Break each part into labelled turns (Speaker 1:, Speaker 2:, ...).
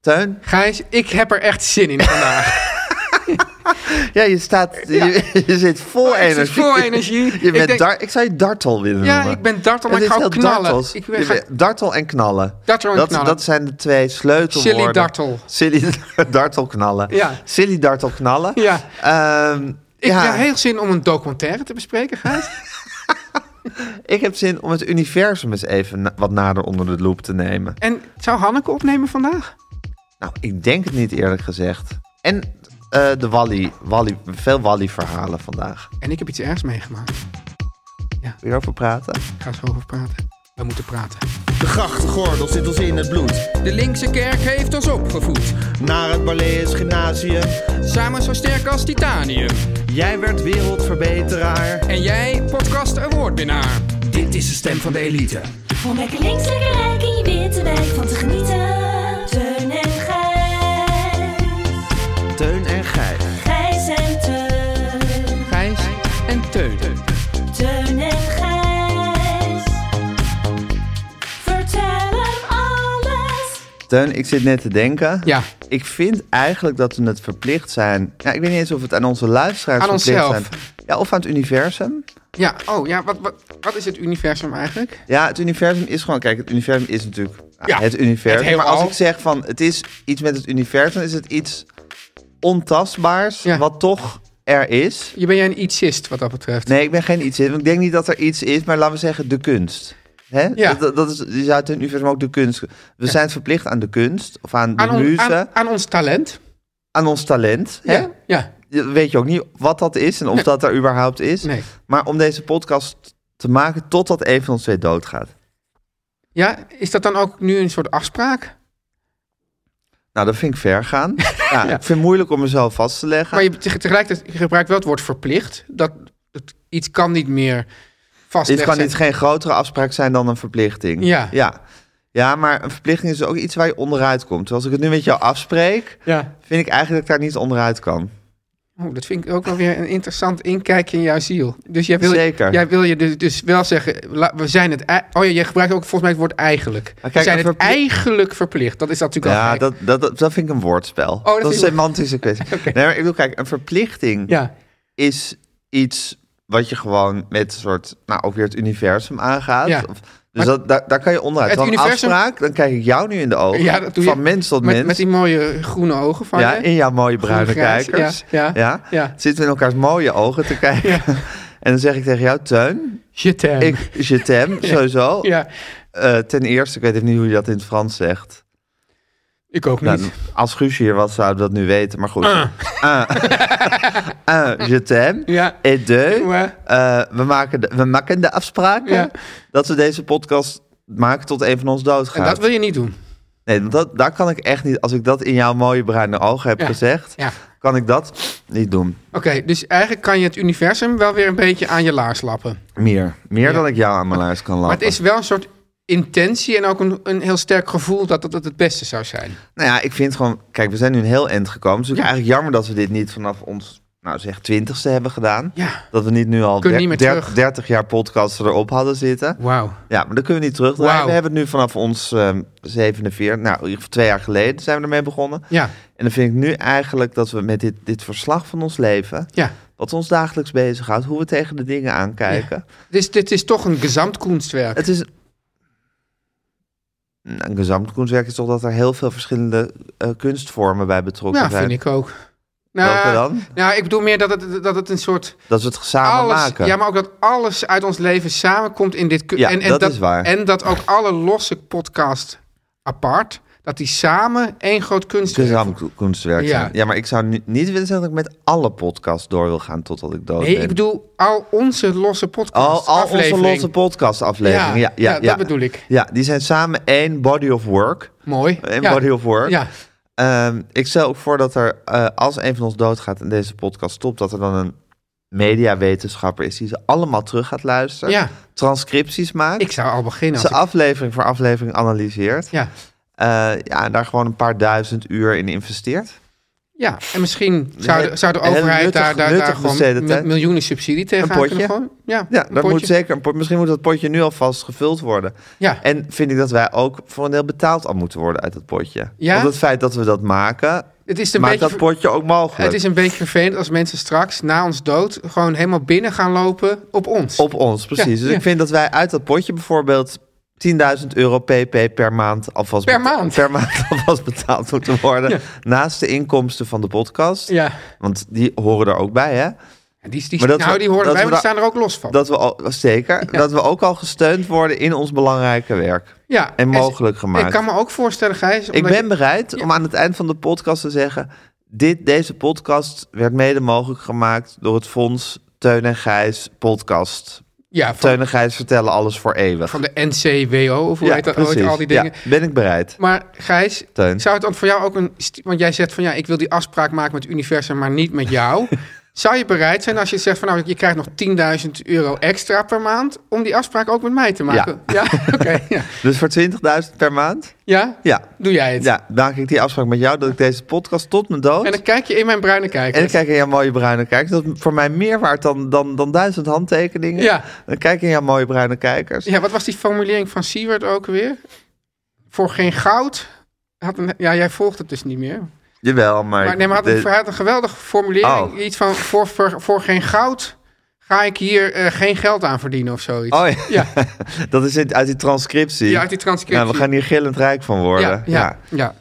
Speaker 1: Teun?
Speaker 2: Gijs, ik heb er echt zin in vandaag.
Speaker 1: Ja, je staat... Je, je zit vol
Speaker 2: Oh, ik zit
Speaker 1: energie.
Speaker 2: vol energie.
Speaker 1: Je
Speaker 2: Ik
Speaker 1: bent ik,
Speaker 2: denk-
Speaker 1: ik zou je dartel willen
Speaker 2: Ja,
Speaker 1: noemen.
Speaker 2: ik ben dartel, maar
Speaker 1: Het
Speaker 2: ik
Speaker 1: is
Speaker 2: ga ook
Speaker 1: heel
Speaker 2: knallen.
Speaker 1: dartels.
Speaker 2: Ik ben-
Speaker 1: Je
Speaker 2: ga-
Speaker 1: bent- Dartel en knallen.
Speaker 2: Dartel en
Speaker 1: dat,
Speaker 2: knallen.
Speaker 1: Dat zijn de twee sleutelwoorden.
Speaker 2: Silly dartel.
Speaker 1: Silly dartel knallen.
Speaker 2: Ja.
Speaker 1: Silly dartel knallen.
Speaker 2: Ja.
Speaker 1: Ehm,
Speaker 2: Ik
Speaker 1: ja,
Speaker 2: heb heel zin om een documentaire te bespreken, Gijs.
Speaker 1: ik heb zin om het universum eens even na- wat nader onder de loep te nemen.
Speaker 2: En zou Hanneke opnemen vandaag?
Speaker 1: Nou, ik denk het niet eerlijk gezegd. En eh, de Wally, Wally, veel Wally-verhalen vandaag.
Speaker 2: En ik heb iets ergs meegemaakt.
Speaker 1: Wil je over praten?
Speaker 2: Ik ga zo over praten. We moeten praten.
Speaker 3: De grachtgordel zit ons in het bloed.
Speaker 4: De linkse kerk heeft ons opgevoed.
Speaker 3: Naar het Barlees Gymnasium.
Speaker 4: Samen zo sterk als titanium.
Speaker 3: Jij werd wereldverbeteraar.
Speaker 4: En jij, podcast awardwinnaar. Dit is de stem van de elite.
Speaker 5: Om lekker links, lekker rijk in je witte wijk van te genieten. Teun en Gijs.
Speaker 3: Teun en Gijs.
Speaker 5: Gijs en Teun.
Speaker 4: Gijs en Teun.
Speaker 5: Teun en Gijs. Vertel hem alles.
Speaker 1: Teun, ik zit net te denken.
Speaker 2: Ja.
Speaker 1: Ik vind eigenlijk dat we het verplicht zijn. Ja, ik weet niet eens of het aan onze luisteraars
Speaker 2: Aan
Speaker 1: verplicht
Speaker 2: onszelf.
Speaker 1: zijn. Ja, of aan het universum.
Speaker 2: Ja, oh ja, wat, wat, wat is het universum eigenlijk?
Speaker 1: Ja, het universum is gewoon. Kijk, het universum is natuurlijk nou,
Speaker 2: Ja,
Speaker 1: het universum.
Speaker 2: het
Speaker 1: maar als
Speaker 2: heelal.
Speaker 1: ik zeg van het is iets met het universum, is het iets ontastbaars
Speaker 2: Ja.
Speaker 1: wat toch er is.
Speaker 2: Je ben jij een ietsist wat dat betreft.
Speaker 1: Nee, ik ben geen iets in. Want ik denk niet dat er iets is, maar laten we zeggen de kunst. Hè?
Speaker 2: Ja.
Speaker 1: Dat, dat is, je zou het in het universum ook de kunst. We zijn het verplicht aan de kunst, of aan de
Speaker 2: aan, on-
Speaker 1: muze, aan,
Speaker 2: aan, aan ons talent.
Speaker 1: ons talent. Hè?
Speaker 2: Ja? Ja.
Speaker 1: Je weet je ook niet wat dat is en of dat er überhaupt is.
Speaker 2: Nee.
Speaker 1: Maar om deze podcast te maken totdat een van ons twee doodgaat.
Speaker 2: ja, is dat dan ook nu een soort afspraak?
Speaker 1: Nou, dat vind ik ver gaan. Ja, Ik vind het moeilijk om mezelf vast te leggen.
Speaker 2: Maar je, teg- tegelijkertijd je gebruikt wel het woord verplicht. Dat, dat iets kan niet meer
Speaker 1: Dit
Speaker 2: vastleggen.
Speaker 1: kan niet geen grotere afspraak zijn dan een verplichting.
Speaker 2: Ja.
Speaker 1: ja. Ja, maar een verplichting is ook iets waar je onderuit komt. Zoals ik het nu met jou afspreek,
Speaker 2: Ja.
Speaker 1: vind ik eigenlijk dat ik daar niet onderuit kan.
Speaker 2: Oh, dat vind ik ook wel weer een interessant inkijkje in jouw ziel. Dus jij wil,
Speaker 1: Zeker.
Speaker 2: Jij wil je dus, dus wel zeggen, la- we zijn het... ei- Oh ja, jij gebruikt ook volgens mij het woord eigenlijk.
Speaker 1: kijk,
Speaker 2: we zijn
Speaker 1: een
Speaker 2: het
Speaker 1: verpli-
Speaker 2: eigenlijk verplicht. Dat is natuurlijk al
Speaker 1: Ja,
Speaker 2: gek. Oh,
Speaker 1: dat, dat, dat, dat vind ik een woordspel. dat
Speaker 2: vind
Speaker 1: is
Speaker 2: je-
Speaker 1: een semantische kwestie. Nee, maar ik bedoel, kijk, een verplichting
Speaker 2: Ja,
Speaker 1: is iets wat je gewoon met een soort, nou, ook weer het universum aangaat.
Speaker 2: Ja.
Speaker 1: Of, dus
Speaker 2: Maar-
Speaker 1: dat, daar, daar kan je onderuit.
Speaker 2: Het
Speaker 1: Het een
Speaker 2: universum-
Speaker 1: afspraak, dan kijk ik jou nu in de ogen.
Speaker 2: ja dat doe je.
Speaker 1: van mens tot
Speaker 2: met,
Speaker 1: mens.
Speaker 2: Met die mooie groene ogen van
Speaker 1: ja,
Speaker 2: je.
Speaker 1: in jouw mooie bruine
Speaker 2: Groen-grijs,
Speaker 1: kijkers.
Speaker 2: ja, ja, ja.
Speaker 1: Zitten we in elkaars mooie ogen te kijken. En dan zeg ik tegen jou, Teun,
Speaker 2: Je term.
Speaker 1: ik, je tem, sowieso.
Speaker 2: Ja,
Speaker 1: Eh, ten eerste, ik weet even niet hoe je dat in het Frans zegt.
Speaker 2: ik ook
Speaker 1: Nou,
Speaker 2: niet.
Speaker 1: als Guus hier was, zouden we dat nu weten. Maar goed. Ah. Ah, je t'aime.
Speaker 2: Ja.
Speaker 1: Et deux.
Speaker 2: Ja.
Speaker 1: Eh, we, maken de, we maken de afspraken
Speaker 2: Ja.
Speaker 1: dat we deze podcast maken tot een van ons doodgaat.
Speaker 2: En dat wil je niet doen.
Speaker 1: Nee, want dat, daar kan ik echt niet. Als ik dat in jouw mooie bruine ogen heb
Speaker 2: Ja.
Speaker 1: gezegd,
Speaker 2: Ja.
Speaker 1: kan ik dat niet doen.
Speaker 2: Oké, dus eigenlijk kan je het universum wel weer een beetje aan je laars lappen.
Speaker 1: Meer. Meer dan ik jou aan mijn lijst kan laten.
Speaker 2: Maar het is wel een soort intentie en ook een, een heel sterk gevoel dat het het, het beste zou zijn.
Speaker 1: Nou ja, ik vind gewoon... Kijk, we zijn nu een heel eind gekomen. Dus ik eigenlijk jammer dat we dit niet vanaf ons... Nou zeg, twintigste hebben gedaan.
Speaker 2: Ja.
Speaker 1: Dat we niet nu al
Speaker 2: Kunnen niet meer terug.
Speaker 1: 30 jaar podcasts erop hadden zitten.
Speaker 2: Wauw.
Speaker 1: Ja, maar dat kunnen we niet terugdraaien.
Speaker 2: Wauw.
Speaker 1: We hebben het nu vanaf ons ehm 47... Nou, in ieder geval twee jaar geleden zijn we ermee begonnen.
Speaker 2: Ja,
Speaker 1: En dan vind ik nu eigenlijk dat we met dit, dit verslag van ons leven...
Speaker 2: ja.
Speaker 1: wat ons dagelijks bezighoudt, hoe we tegen de dingen aankijken.
Speaker 2: Dus dit is toch een gezamtkunstwerk.
Speaker 1: Het is... Nou, Een gezamenlijk is toch dat er heel veel verschillende eh, kunstvormen bij betrokken
Speaker 2: Nou,
Speaker 1: zijn.
Speaker 2: vind ik ook.
Speaker 1: Welke
Speaker 2: Nou,
Speaker 1: dan?
Speaker 2: nou, ik bedoel meer dat het, dat het een soort...
Speaker 1: Dat we het samen
Speaker 2: alles,
Speaker 1: maken.
Speaker 2: Ja, maar ook dat alles uit ons leven samenkomt in dit... ku-
Speaker 1: Ja, dat is waar.
Speaker 2: En dat ook alle losse podcast apart, dat die samen één groot kunstwerk...
Speaker 1: Gezamenlijk kunstwerk
Speaker 2: Ja.
Speaker 1: zijn. Ja, maar ik zou nu niet willen zeggen dat ik met alle podcasts door wil gaan totdat ik dood
Speaker 2: Nee,
Speaker 1: ben.
Speaker 2: ik bedoel al onze losse
Speaker 1: Al,
Speaker 2: podcast
Speaker 1: al onze
Speaker 2: aflevering.
Speaker 1: losse podcastafleveringen. Ja,
Speaker 2: Ja,
Speaker 1: ja,
Speaker 2: ja, dat bedoel ik.
Speaker 1: Ja, die zijn samen één body of work.
Speaker 2: Mooi.
Speaker 1: Een
Speaker 2: Ja.
Speaker 1: body of work.
Speaker 2: Ja,
Speaker 1: Ehm, ik stel ook voor dat er, eh, als een van ons doodgaat en deze podcast stopt, dat er dan een mediawetenschapper is die ze allemaal terug gaat luisteren.
Speaker 2: Ja.
Speaker 1: Transcripties maakt.
Speaker 2: ik zou al beginnen.
Speaker 1: ze
Speaker 2: Als ik,
Speaker 1: aflevering voor aflevering analyseert.
Speaker 2: ja.
Speaker 1: Eh, ja, en daar gewoon een paar duizend uur in investeert.
Speaker 2: ja, en misschien zou de, zou de
Speaker 1: Heel
Speaker 2: overheid
Speaker 1: nuttig-
Speaker 2: daar, daar,
Speaker 1: nuttig
Speaker 2: daar gewoon
Speaker 1: besteedde
Speaker 2: mi-
Speaker 1: tijd.
Speaker 2: miljoenen subsidie tegen
Speaker 1: Een potje.
Speaker 2: kunnen gooien. Ja,
Speaker 1: Ja,
Speaker 2: een
Speaker 1: dat moet
Speaker 2: potje.
Speaker 1: zeker. een pot- Misschien moet dat potje nu alvast gevuld worden.
Speaker 2: Ja.
Speaker 1: En vind ik dat wij ook voor een deel betaald al moeten worden uit dat potje.
Speaker 2: Ja?
Speaker 1: Want het feit dat we dat maken,
Speaker 2: Het is een
Speaker 1: maakt
Speaker 2: beetje
Speaker 1: dat
Speaker 2: ver-
Speaker 1: potje ook mogelijk.
Speaker 2: Het is een beetje vervelend als mensen straks na ons dood gewoon helemaal binnen gaan lopen op ons.
Speaker 1: Op ons, precies.
Speaker 2: Ja,
Speaker 1: dus
Speaker 2: ja.
Speaker 1: ik vind dat wij uit dat potje bijvoorbeeld 10.000 euro pp per maand alvast
Speaker 2: Per
Speaker 1: beta-
Speaker 2: maand?
Speaker 1: per maand alvast betaald moeten worden. Naast de inkomsten van de podcast.
Speaker 2: Ja.
Speaker 1: Want die horen er ook bij, hè?
Speaker 2: Ja, Die, die,
Speaker 1: Maar dat
Speaker 2: nou,
Speaker 1: we-
Speaker 2: die horen
Speaker 1: dat
Speaker 2: wij,
Speaker 1: we
Speaker 2: maar die
Speaker 1: daar-
Speaker 2: staan er ook los van.
Speaker 1: Dat we al, zeker. Dat we ook al gesteund worden in ons belangrijke werk.
Speaker 2: ja.
Speaker 1: en mogelijk gemaakt.
Speaker 2: Ik kan me ook voorstellen, Gijs.
Speaker 1: Ik
Speaker 2: omdat
Speaker 1: ben
Speaker 2: je-
Speaker 1: bereid om aan het eind van de podcast te zeggen... Dit, deze podcast werd mede mogelijk gemaakt door het Fonds Teun en Gijs Podcast.
Speaker 2: ja, van,
Speaker 1: Teun en Gijs vertellen alles voor eeuwig.
Speaker 2: van de NCWO, of hoe heet dat ooit, al die dingen.
Speaker 1: Ja, ben ik bereid.
Speaker 2: Maar Gijs,
Speaker 1: Teun.
Speaker 2: zou het dan voor jou ook een... st- Want jij zegt van ja, ik wil die afspraak maken met het universum, maar niet met jou. zou je bereid zijn als je zegt van nou, je krijgt nog 10.000 euro extra per maand... om die afspraak ook met mij te maken? Ja, oké. ja.
Speaker 1: Dus voor 20.000 per maand?
Speaker 2: ja?
Speaker 1: Ja.
Speaker 2: doe jij het.
Speaker 1: Ja, dan maak ik die afspraak met jou dat ik deze podcast tot mijn dood...
Speaker 2: En dan kijk je in mijn bruine kijker.
Speaker 1: En ik kijk in jouw mooie bruine kijkers. Dat is voor mij meer waard dan, dan, dan duizend handtekeningen.
Speaker 2: Ja.
Speaker 1: Dan kijk ik in jouw mooie bruine kijkers.
Speaker 2: Ja, wat was die formulering van Siewert ook weer? Voor geen goud. Had een, ja, jij volgt het dus niet meer.
Speaker 1: Jawel, maar...
Speaker 2: Maar, nee, maar had
Speaker 1: de-
Speaker 2: een, hij had een geweldige formulering.
Speaker 1: Oh.
Speaker 2: Iets van voor, voor, voor geen goud ga ik hier eh, geen geld aan verdienen of zoiets.
Speaker 1: Oh ja,
Speaker 2: Ja,
Speaker 1: dat is uit uit die transcriptie.
Speaker 2: ja, uit die transcriptie.
Speaker 1: Nou, we gaan hier gillend rijk van worden.
Speaker 2: ja, ja, ja.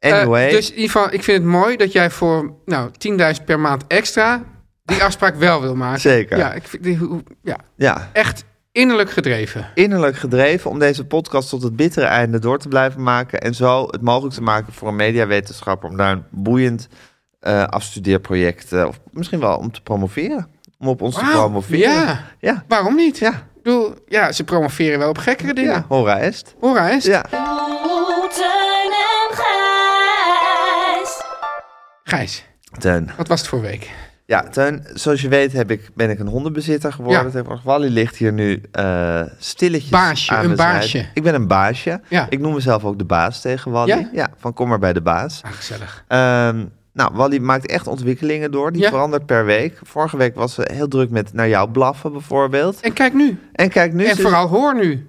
Speaker 1: Ja. Anyway,
Speaker 2: Eh, dus in ieder geval, ik vind het mooi dat jij voor nou, 10.000 per maand extra die afspraak wel wil maken.
Speaker 1: Zeker.
Speaker 2: Ja, ik vind die, hoe- ja,
Speaker 1: ja.
Speaker 2: echt innerlijk gedreven.
Speaker 1: innerlijk gedreven om deze podcast tot het bittere einde door te blijven maken. En zo het mogelijk te maken voor een mediawetenschapper om daar een boeiend eh, afstudeerproject, eh, of misschien wel om te promoveren. Om op ons te
Speaker 2: Wauw,
Speaker 1: promoveren.
Speaker 2: ja.
Speaker 1: ja.
Speaker 2: Waarom niet?
Speaker 1: Ja.
Speaker 2: Ik bedoel, ja, ze promoveren wel op gekkere dingen.
Speaker 1: Ja, hora est.
Speaker 2: Hoor eens.
Speaker 1: Ja.
Speaker 5: Oh, Teun en Gijs.
Speaker 2: Gijs,
Speaker 1: Teun.
Speaker 2: wat was het voor week?
Speaker 1: Ja, Teun, zoals je weet heb ik, ben ik een hondenbezitter geworden.
Speaker 2: Ja.
Speaker 1: tegenwoordig. Wally ligt hier nu eh stilletjes
Speaker 2: Baasje,
Speaker 1: aan
Speaker 2: een
Speaker 1: mijn
Speaker 2: baasje.
Speaker 1: zijde. Ik ben een baasje.
Speaker 2: Ja.
Speaker 1: Ik noem mezelf ook de baas tegen Wally.
Speaker 2: Ja?
Speaker 1: van kom maar bij de baas.
Speaker 2: Ah, gezellig.
Speaker 1: Ehm, nou, Wally maakt echt ontwikkelingen door. Die
Speaker 2: Ja.
Speaker 1: verandert per week. Vorige week was ze heel druk met naar jou blaffen bijvoorbeeld.
Speaker 2: En kijk nu.
Speaker 1: En kijk nu,
Speaker 2: en
Speaker 1: ze-
Speaker 2: vooral hoor nu.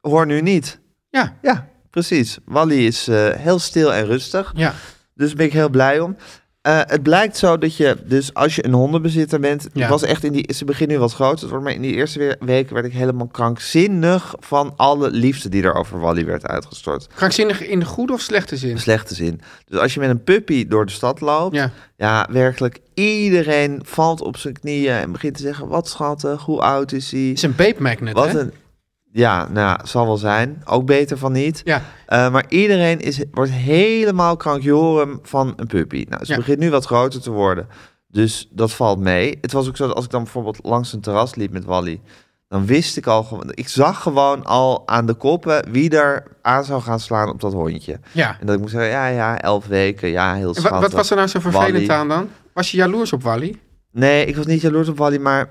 Speaker 1: hoor nu niet.
Speaker 2: Ja,
Speaker 1: Ja, precies. Wally is eh, heel stil en rustig.
Speaker 2: ja.
Speaker 1: Dus daar ben ik heel blij om. Eh, het blijkt zo dat je, dus als je een hondenbezitter bent, het
Speaker 2: Ja.
Speaker 1: was echt in die, ze beginnen nu wat groot, het wordt, maar in die eerste we- weken werd ik helemaal krankzinnig van alle liefde die er over Wally werd uitgestort.
Speaker 2: Krankzinnig in de goede of slechte
Speaker 1: In
Speaker 2: zin.
Speaker 1: slechte zin. Dus als je met een puppy door de stad loopt,
Speaker 2: Ja.
Speaker 1: ja, werkelijk iedereen valt op zijn knieën en begint te zeggen, wat schattig, hoe oud is hij?
Speaker 2: Het is een beepmagnet,
Speaker 1: Wat
Speaker 2: hè?
Speaker 1: een... Ja, nou, zal wel zijn. Ook beter van niet.
Speaker 2: Ja.
Speaker 1: Eh, maar iedereen is, wordt helemaal krankjorum van een puppy. Nou, ze
Speaker 2: Ja.
Speaker 1: begint nu wat groter te worden. Dus dat valt mee. Het was ook zo dat als ik dan bijvoorbeeld langs een terras liep met Wally... Dan wist ik al gewoon, ik zag gewoon al aan de koppen wie er aan zou gaan slaan op dat hondje.
Speaker 2: Ja.
Speaker 1: En dat ik moest zeggen, ja, ja, elf weken, ja, heel
Speaker 2: En wa-
Speaker 1: schattig.
Speaker 2: wat, was er nou zo vervelend
Speaker 1: Wally.
Speaker 2: aan dan? Was je jaloers op Wally?
Speaker 1: Nee, ik was niet jaloers op Wally, maar...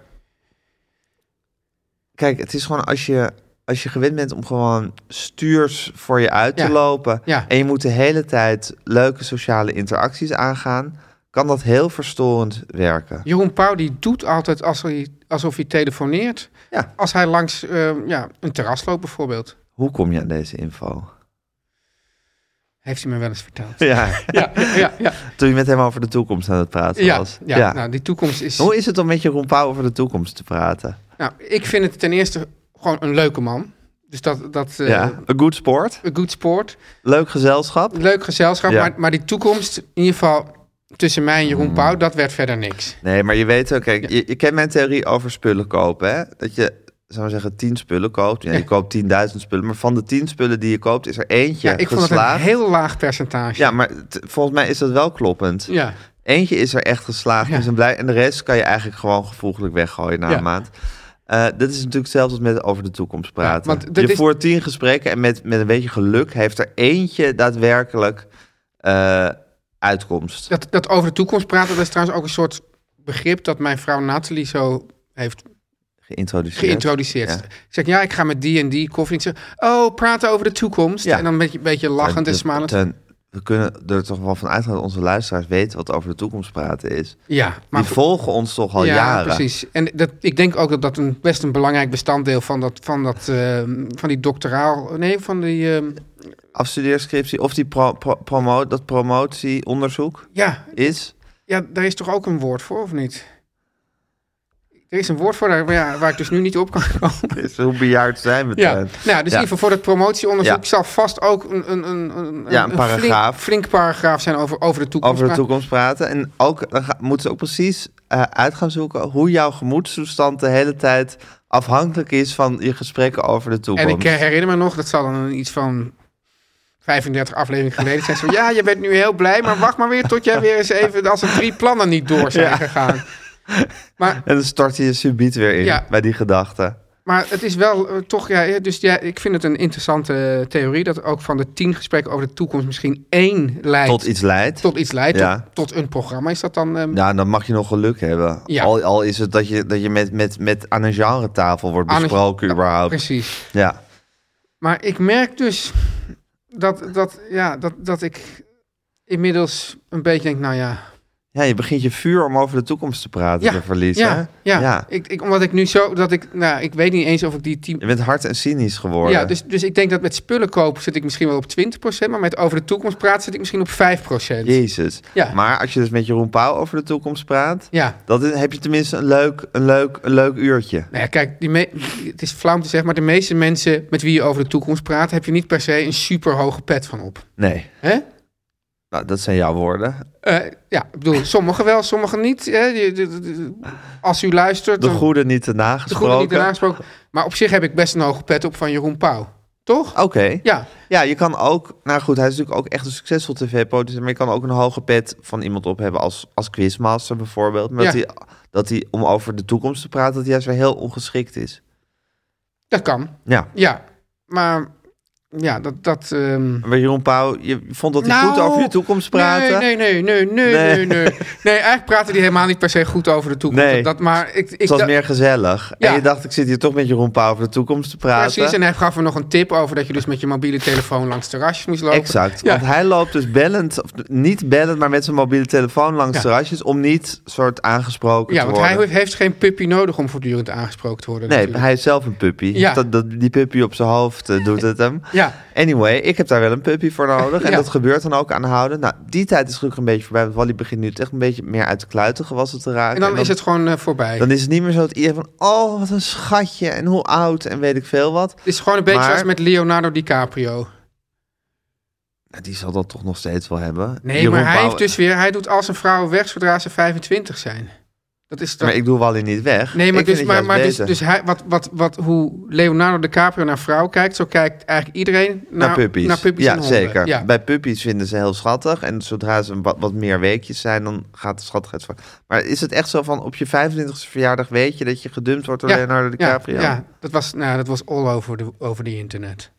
Speaker 1: Kijk, het is gewoon als je, als je gewend bent om gewoon stuurs voor je uit te
Speaker 2: Ja.
Speaker 1: lopen...
Speaker 2: Ja.
Speaker 1: en je moet de hele tijd leuke sociale interacties aangaan... kan dat heel verstorend werken.
Speaker 2: Jeroen Pauw die doet altijd als hij, alsof hij telefoneert.
Speaker 1: Ja.
Speaker 2: Als hij langs eh, ja, een terras loopt bijvoorbeeld.
Speaker 1: Hoe kom je aan deze info?
Speaker 2: Heeft hij me wel eens verteld.
Speaker 1: Ja,
Speaker 2: Ja, ja, ja. ja,
Speaker 1: toen je met hem over de toekomst aan het praten
Speaker 2: ja,
Speaker 1: was. Ja.
Speaker 2: Nou, die toekomst is...
Speaker 1: Hoe is het om met Jeroen Pauw over de toekomst te praten?
Speaker 2: Nou, ik vind het ten eerste gewoon een leuke man. Dus dat... dat eh,
Speaker 1: ja, een good sport,
Speaker 2: Een good sport.
Speaker 1: leuk gezelschap.
Speaker 2: Leuk gezelschap.
Speaker 1: Ja. Mm.
Speaker 2: Maar, maar die toekomst, in ieder geval tussen mij en Jeroen Pauw, dat werd verder niks.
Speaker 1: Nee, maar je weet ook, kijk, je, je kent mijn theorie over spullen kopen, hè? Dat je, zou maar zeggen, tien spullen koopt. Ja, je
Speaker 2: Ja.
Speaker 1: koopt 10.000 spullen, maar van de tien spullen die je koopt is er eentje
Speaker 2: Ja, ik vond het een
Speaker 1: geslaagd.
Speaker 2: heel laag percentage.
Speaker 1: Ja, maar t- volgens mij is dat wel kloppend.
Speaker 2: Ja.
Speaker 1: Eentje is er echt geslaagd
Speaker 2: Ja.
Speaker 1: en zijn blij. En de rest kan je eigenlijk gewoon gevoeglijk weggooien na
Speaker 2: Ja.
Speaker 1: een maand. Eh, dat is natuurlijk hetzelfde als met over de toekomst praten.
Speaker 2: Ja, want dat
Speaker 1: je
Speaker 2: is-
Speaker 1: voert tien gesprekken en met, met een beetje geluk heeft er eentje daadwerkelijk eh, uitkomst.
Speaker 2: Dat, dat over de toekomst praten, dat is trouwens ook een soort begrip dat mijn vrouw Nathalie zo heeft
Speaker 1: Geïntroduceerd.
Speaker 2: geïntroduceerd.
Speaker 1: Ja.
Speaker 2: Ik zeg, ja, ik ga met die en die koffie. Ik zeg, oh, praten over de toekomst.
Speaker 1: Ja.
Speaker 2: En dan een beetje, een beetje lachend en
Speaker 1: Teun,
Speaker 2: smalend.
Speaker 1: Teun, dus we kunnen er toch wel van uitgaan dat onze luisteraars weten wat over de toekomst praten is.
Speaker 2: Ja, maar
Speaker 1: Die volgen ons toch al
Speaker 2: ja,
Speaker 1: jaren.
Speaker 2: precies. En dat, ik denk ook dat dat een, best een belangrijk bestanddeel van, dat, van, dat, ehm, van die doctoraal... Nee, van die... ehm,
Speaker 1: Afstudeerscriptie of die pro, pro- promo, dat promotieonderzoek
Speaker 2: ja,
Speaker 1: is.
Speaker 2: Ja, daar is toch ook een woord voor, of niet? Er is een woord voor daar, maar ja, waar ik dus nu niet op kan komen.
Speaker 1: is hoe bejaard zijn we?
Speaker 2: Ja,
Speaker 1: Teun?
Speaker 2: nou, dus in ieder geval voor dat promotieonderzoek
Speaker 1: Eh, Ja.
Speaker 2: zal vast ook een, een, een, een,
Speaker 1: Ja, een paragraaf.
Speaker 2: Flink, flink paragraaf zijn over, over de toekomst.
Speaker 1: over de
Speaker 2: Maar-
Speaker 1: toekomst praten. En ook, dan ga- moeten ze ook precies eh, uit gaan zoeken hoe jouw gemoedstoestand de hele tijd afhankelijk is van je gesprekken over de
Speaker 2: En
Speaker 1: toekomst.
Speaker 2: ik eh, herinner me nog, dat zal dan iets van 35 afleveringen geleden zijn. Zo, ja, je bent nu heel blij, maar wacht maar weer tot jij weer eens even... als er drie plannen niet door zijn gegaan. Maar
Speaker 1: En dan stort je je subiet weer in
Speaker 2: Ja.
Speaker 1: bij die gedachten.
Speaker 2: Maar het is wel eh, toch, ja, ja, dus ja, ik vind het een interessante theorie dat ook van de tien gesprekken over de toekomst misschien één leidt
Speaker 1: Tot iets leidt.
Speaker 2: tot iets leidt,
Speaker 1: Ja.
Speaker 2: tot, tot een programma. Is dat dan? ehm,
Speaker 1: Ja, Nou, dan mag je nog geluk hebben.
Speaker 2: Ja.
Speaker 1: Al, al is het dat je, dat je met, met, met aan een genre-tafel wordt
Speaker 2: Aan een-
Speaker 1: besproken überhaupt.
Speaker 2: Precies.
Speaker 1: Ja.
Speaker 2: Maar ik merk dus dat, dat, ja, dat, dat ik inmiddels een beetje denk, nou ja,
Speaker 1: ja, je begint je vuur om over de toekomst te praten
Speaker 2: Ja,
Speaker 1: te verliezen.
Speaker 2: ja, ja,
Speaker 1: Ja.
Speaker 2: Ik, ik, omdat ik nu zo, dat ik, nou, ik weet niet eens of ik die tien
Speaker 1: Je bent hard en cynisch geworden.
Speaker 2: Ja, dus, dus ik denk dat met spullen kopen zit ik misschien wel op 20%, maar met over de toekomst praten zit ik misschien op 5%.
Speaker 1: Jezus.
Speaker 2: Ja.
Speaker 1: Maar als je dus met Jeroen Pauw over de toekomst praat,
Speaker 2: Ja,
Speaker 1: dat is- heb je tenminste een leuk, een leuk, een leuk uurtje.
Speaker 2: Nou ja, kijk, die me- het is flauw om te zeggen, maar de meeste mensen met wie je over de toekomst praat, heb je niet per se een super hoge pet van op.
Speaker 1: Nee.
Speaker 2: Hè?
Speaker 1: Nou, dat zijn jouw woorden.
Speaker 2: Eh, ja, ik bedoel, sommigen wel, sommigen niet. Hè? Die- die- die- die- als u luistert,
Speaker 1: De
Speaker 2: dan-
Speaker 1: goede niet te
Speaker 2: de goede niet
Speaker 1: nagesproken.
Speaker 2: aangesproken. Maar op zich heb ik best een hoge pet op van Jeroen Pauw. Toch?
Speaker 1: Oké.
Speaker 2: Ja,
Speaker 1: Ja, je kan ook... Nou goed, hij is natuurlijk ook echt een succesvol tv-producent... maar je kan ook een hoge pet van iemand op hebben als, als quizmaster bijvoorbeeld. Maar dat,
Speaker 2: Ja.
Speaker 1: hij, dat hij, om over de toekomst te praten... dat hij juist weer heel ongeschikt is.
Speaker 2: dat kan.
Speaker 1: Ja.
Speaker 2: Ja, maar ja, dat... dat ehm,
Speaker 1: Maar Jeroen Pauw, je vond dat hij
Speaker 2: Nou,
Speaker 1: goed over de toekomst praten?
Speaker 2: Nee, nee, nee, nee, nee,
Speaker 1: Nee.
Speaker 2: nee, nee. Nee, eigenlijk praten die helemaal niet per se goed over de toekomst.
Speaker 1: Nee.
Speaker 2: Dat, maar ik, ik,
Speaker 1: Het was
Speaker 2: dat-
Speaker 1: meer gezellig.
Speaker 2: Ja.
Speaker 1: En je dacht, ik zit hier toch met Jeroen Pauw over de toekomst te praten.
Speaker 2: Precies, en hij gaf er nog een tip over dat je dus met je mobiele telefoon langs terrasjes moest lopen.
Speaker 1: Exact,
Speaker 2: Ja.
Speaker 1: want hij loopt dus bellend, of niet bellend, maar met zijn mobiele telefoon langs
Speaker 2: Ja.
Speaker 1: terrasjes... om niet soort aangesproken
Speaker 2: Ja,
Speaker 1: te
Speaker 2: want
Speaker 1: worden.
Speaker 2: hij heeft geen puppy nodig om voortdurend aangesproken te worden.
Speaker 1: Nee,
Speaker 2: natuurlijk.
Speaker 1: hij is zelf een puppy.
Speaker 2: Ja.
Speaker 1: Dat, dat, die puppy op zijn hoofd eh, doet het hem.
Speaker 2: Ja,
Speaker 1: Anyway, ik heb daar wel een puppy voor nodig. En
Speaker 2: Ja.
Speaker 1: dat gebeurt dan ook aanhouden. Nou, die tijd is gelukkig een beetje voorbij. Want Wally begint nu echt een beetje meer uit de kluiten gewassen te raken.
Speaker 2: en dan is het gewoon eh, voorbij.
Speaker 1: dan is het niet meer zo dat iedereen van... Oh, wat een schatje. En hoe oud. En weet ik veel wat.
Speaker 2: het is gewoon een beetje
Speaker 1: maar-
Speaker 2: zoals met Leonardo DiCaprio.
Speaker 1: Nou, die zal dat toch nog steeds wel hebben.
Speaker 2: Nee,
Speaker 1: Jeroen
Speaker 2: maar hij
Speaker 1: Pauw-
Speaker 2: heeft dus weer, hij doet al zijn vrouwen weg zodra ze 25 zijn. Dat is toch...
Speaker 1: Maar ik doe Wally niet weg.
Speaker 2: Nee, maar,
Speaker 1: Ik vind
Speaker 2: dus,
Speaker 1: het juist
Speaker 2: maar, maar dus,
Speaker 1: beter.
Speaker 2: dus hij, wat, wat, wat, hoe Leonardo DiCaprio naar vrouw kijkt, zo kijkt eigenlijk iedereen naar,
Speaker 1: naar, puppies.
Speaker 2: Naar puppies
Speaker 1: ja,
Speaker 2: en honden.
Speaker 1: zeker.
Speaker 2: Ja.
Speaker 1: Bij puppies vinden ze heel schattig. En zodra ze wat, wat meer weekjes zijn, dan gaat de schattigheid van. Maar is het echt zo van op je 25e verjaardag weet je dat je gedumpt wordt door
Speaker 2: Ja,
Speaker 1: Leonardo
Speaker 2: Ja,
Speaker 1: DiCaprio?
Speaker 2: ja, dat was, nou, dat was all over de, over de internet.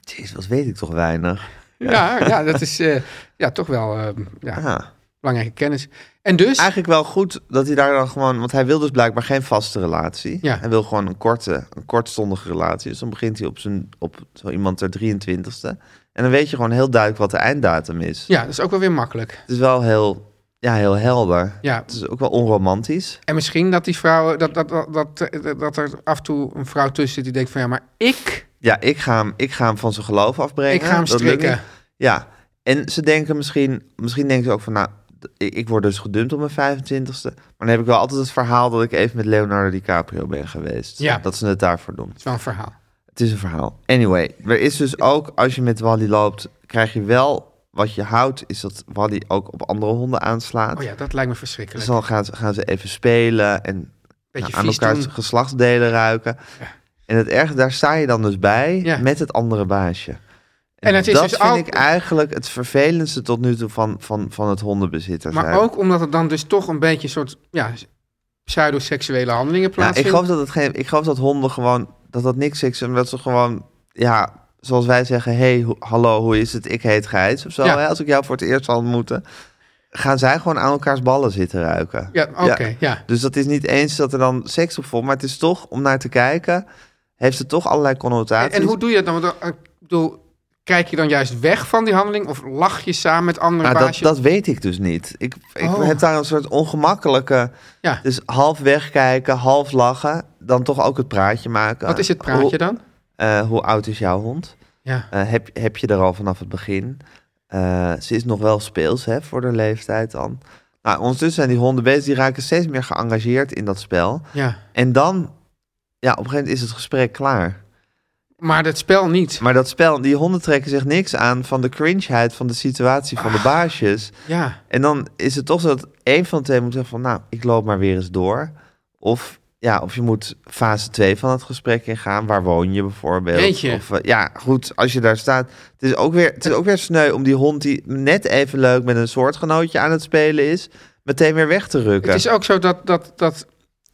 Speaker 1: Jeez, wat weet ik toch weinig.
Speaker 2: Ja, ja, dat is eh, ja, toch wel eh, ja,
Speaker 1: Ah.
Speaker 2: belangrijke kennis. En dus,
Speaker 1: Eigenlijk wel goed dat hij daar dan gewoon... Want hij wil dus blijkbaar geen vaste relatie.
Speaker 2: Ja.
Speaker 1: Hij wil gewoon een korte, een kortstondige relatie. Dus dan begint hij op, zijn, op zo iemand ter 23ste. En dan weet je gewoon heel duidelijk wat de einddatum is.
Speaker 2: ja, dat is ook wel weer makkelijk.
Speaker 1: Het is wel heel, ja, heel helder.
Speaker 2: Ja,
Speaker 1: Het is ook wel onromantisch.
Speaker 2: en misschien dat die vrouwen, dat, dat, dat, dat, dat er af en toe een vrouw tussen zit die denkt van ja, maar ik,
Speaker 1: Ja, ik ga hem, ik ga hem van zijn geloof afbrengen.
Speaker 2: ik ga hem
Speaker 1: Dat lukt
Speaker 2: strikken.
Speaker 1: niet. Ja, en ze denken misschien, misschien denken ze ook van, nou, d- ik, ik word dus gedumpt op mijn 25ste. Maar dan heb ik wel altijd het verhaal dat ik even met Leonardo DiCaprio ben geweest.
Speaker 2: Ja.
Speaker 1: Dat ze het daarvoor doen.
Speaker 2: Dat is wel een verhaal.
Speaker 1: Het is een verhaal. Anyway, er is dus ook, als je met Wally loopt, krijg je wel wat je houdt, is dat Wally ook op andere honden aanslaat.
Speaker 2: Oh ja, dat lijkt
Speaker 1: Dus
Speaker 2: me verschrikkelijk.
Speaker 1: dan gaan ze, gaan ze even spelen en
Speaker 2: Beetje
Speaker 1: nou, aan
Speaker 2: vies
Speaker 1: elkaar
Speaker 2: doen.
Speaker 1: geslachtsdelen ruiken. En het erg, daar sta je dan dus bij
Speaker 2: Ja.
Speaker 1: met het andere baasje. En,
Speaker 2: En het is
Speaker 1: dat
Speaker 2: dus
Speaker 1: vind
Speaker 2: ook-
Speaker 1: ik eigenlijk het vervelendste tot nu toe van, van, van het hondenbezitter zijn.
Speaker 2: Maar ook omdat het dan dus toch een beetje een soort ja, pseudoseksuele handelingen
Speaker 1: Ja, ik
Speaker 2: plaatsvindt.
Speaker 1: geloof dat het geen, ik geloof dat honden gewoon dat dat niks is en dat ze gewoon ja, zoals wij zeggen, hey, ho- hallo, hoe is het? Ik heet Gijs of zo.
Speaker 2: Ja.
Speaker 1: Hè? Als ik jou voor het eerst zal ontmoeten, gaan zij gewoon aan elkaars ballen zitten ruiken.
Speaker 2: Ja, oké, ja.
Speaker 1: Dus dat is niet eens dat er dan seks op volgt, maar het is toch om naar te kijken, heeft het toch allerlei
Speaker 2: En,
Speaker 1: connotaties.
Speaker 2: en hoe doe je dat dan? Want, eh, ik bedoel, kijk je dan juist weg van die handeling of lach je samen met andere
Speaker 1: Nou, dat,
Speaker 2: baasjes?
Speaker 1: dat weet ik dus niet. Ik, ik
Speaker 2: Oh.
Speaker 1: heb daar een soort ongemakkelijke.
Speaker 2: Ja.
Speaker 1: Dus half wegkijken, half lachen. Dan toch ook het praatje maken.
Speaker 2: Wat is het praatje
Speaker 1: Hoe,
Speaker 2: dan?
Speaker 1: eh, hoe oud is jouw hond?
Speaker 2: Ja.
Speaker 1: Eh, heb, heb je er al vanaf het begin? Eh, ze is nog wel speels hè, voor de leeftijd dan. Nou, ondertussen zijn die honden bezig. Die raken steeds meer geëngageerd in dat spel.
Speaker 2: ja.
Speaker 1: En dan, ja, op een gegeven moment is het gesprek klaar.
Speaker 2: Maar dat spel niet.
Speaker 1: Maar dat spel, die honden trekken zich niks aan van de cringeheid van de situatie van de
Speaker 2: Ah.
Speaker 1: baasjes.
Speaker 2: Ja.
Speaker 1: En dan is het toch zo dat één van de twee moet zeggen van... nou, ik loop maar weer eens door. Of, ja, of je moet fase 2 van het gesprek ingaan. Waar woon je bijvoorbeeld?
Speaker 2: Jeetje.
Speaker 1: Of, eh, ja, goed, als je daar staat. Het is, ook weer, het is ook weer sneu om die hond die net even leuk... met een soortgenootje aan het spelen is... meteen weer weg te rukken.
Speaker 2: Het is ook zo dat, dat, dat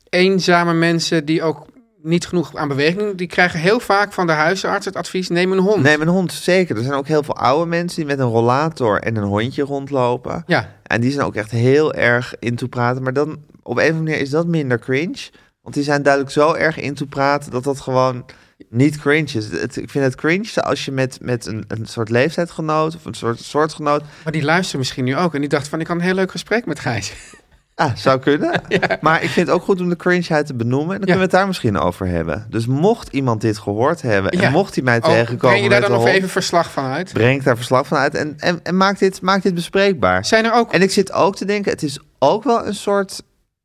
Speaker 2: eenzame mensen die ook niet genoeg aan beweging doen, die krijgen heel vaak van de huisarts het advies, neem een hond.
Speaker 1: Nee, mijn hond, zeker. Er zijn ook heel veel oude mensen die met een rollator en een hondje rondlopen.
Speaker 2: Ja,
Speaker 1: En die zijn ook echt heel erg in toe praten. Maar dan op een of andere manier is dat minder cringe. Want die zijn duidelijk zo erg in toe praten dat dat gewoon niet cringe is. Het, ik vind het cringe als je met, met een, een soort leeftijdgenoot of een soort soortgenoot.
Speaker 2: maar die luisteren misschien nu ook en die dacht van, ik had een heel leuk gesprek met Gijs.
Speaker 1: Ah, zou kunnen. Maar ik vind het ook goed om de cringeheid te benoemen. En dan kunnen we het daar misschien over hebben. Dus mocht iemand dit gehoord hebben en
Speaker 2: Ja.
Speaker 1: mocht hij mij
Speaker 2: Oh,
Speaker 1: tegenkomen.
Speaker 2: breng je daar
Speaker 1: met
Speaker 2: dan
Speaker 1: een
Speaker 2: nog
Speaker 1: hond,
Speaker 2: even verslag van uit?
Speaker 1: Breng daar verslag van uit en, en, en maak, dit, maak dit bespreekbaar.
Speaker 2: Zijn er ook
Speaker 1: En ik zit ook te denken, het is ook wel een soort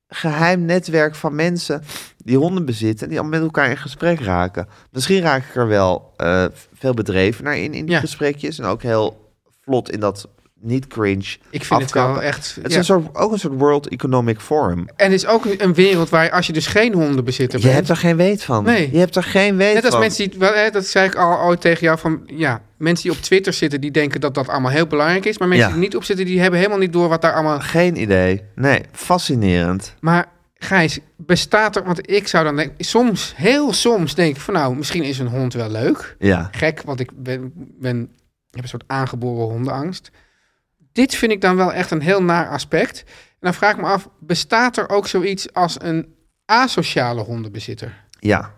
Speaker 1: geheim netwerk van mensen die honden bezitten, die allemaal met elkaar in gesprek raken. Misschien raak ik er wel eh, veel bedreven naar in, in die
Speaker 2: Ja.
Speaker 1: gesprekjes. En ook heel vlot in dat niet cringe.
Speaker 2: Ik vind
Speaker 1: afkappen.
Speaker 2: het wel echt.
Speaker 1: Het is
Speaker 2: ja.
Speaker 1: een soort, ook een soort World Economic Forum.
Speaker 2: En het is ook een wereld waar je, als je dus geen hondenbezitter
Speaker 1: Je hebt
Speaker 2: bent.
Speaker 1: er geen weet van.
Speaker 2: Nee.
Speaker 1: Je hebt er geen weet
Speaker 2: Net als
Speaker 1: van.
Speaker 2: mensen die, wel, hè, dat zei ik al ooit tegen jou, van ja, mensen die op Twitter zitten, die denken dat dat allemaal heel belangrijk is. Maar mensen
Speaker 1: Ja.
Speaker 2: die er niet op zitten, die hebben helemaal niet door wat daar allemaal.
Speaker 1: Geen idee. Nee, fascinerend.
Speaker 2: Maar Gijs, bestaat er, want ik zou dan denken, soms, heel soms denk ik van nou, misschien is een hond wel leuk.
Speaker 1: Ja.
Speaker 2: Gek, want ik ben, ben ik heb een soort aangeboren hondenangst. Dit vind ik dan wel echt een heel naar aspect. En dan vraag ik me af, bestaat er ook zoiets als een asociale hondenbezitter?
Speaker 1: Ja.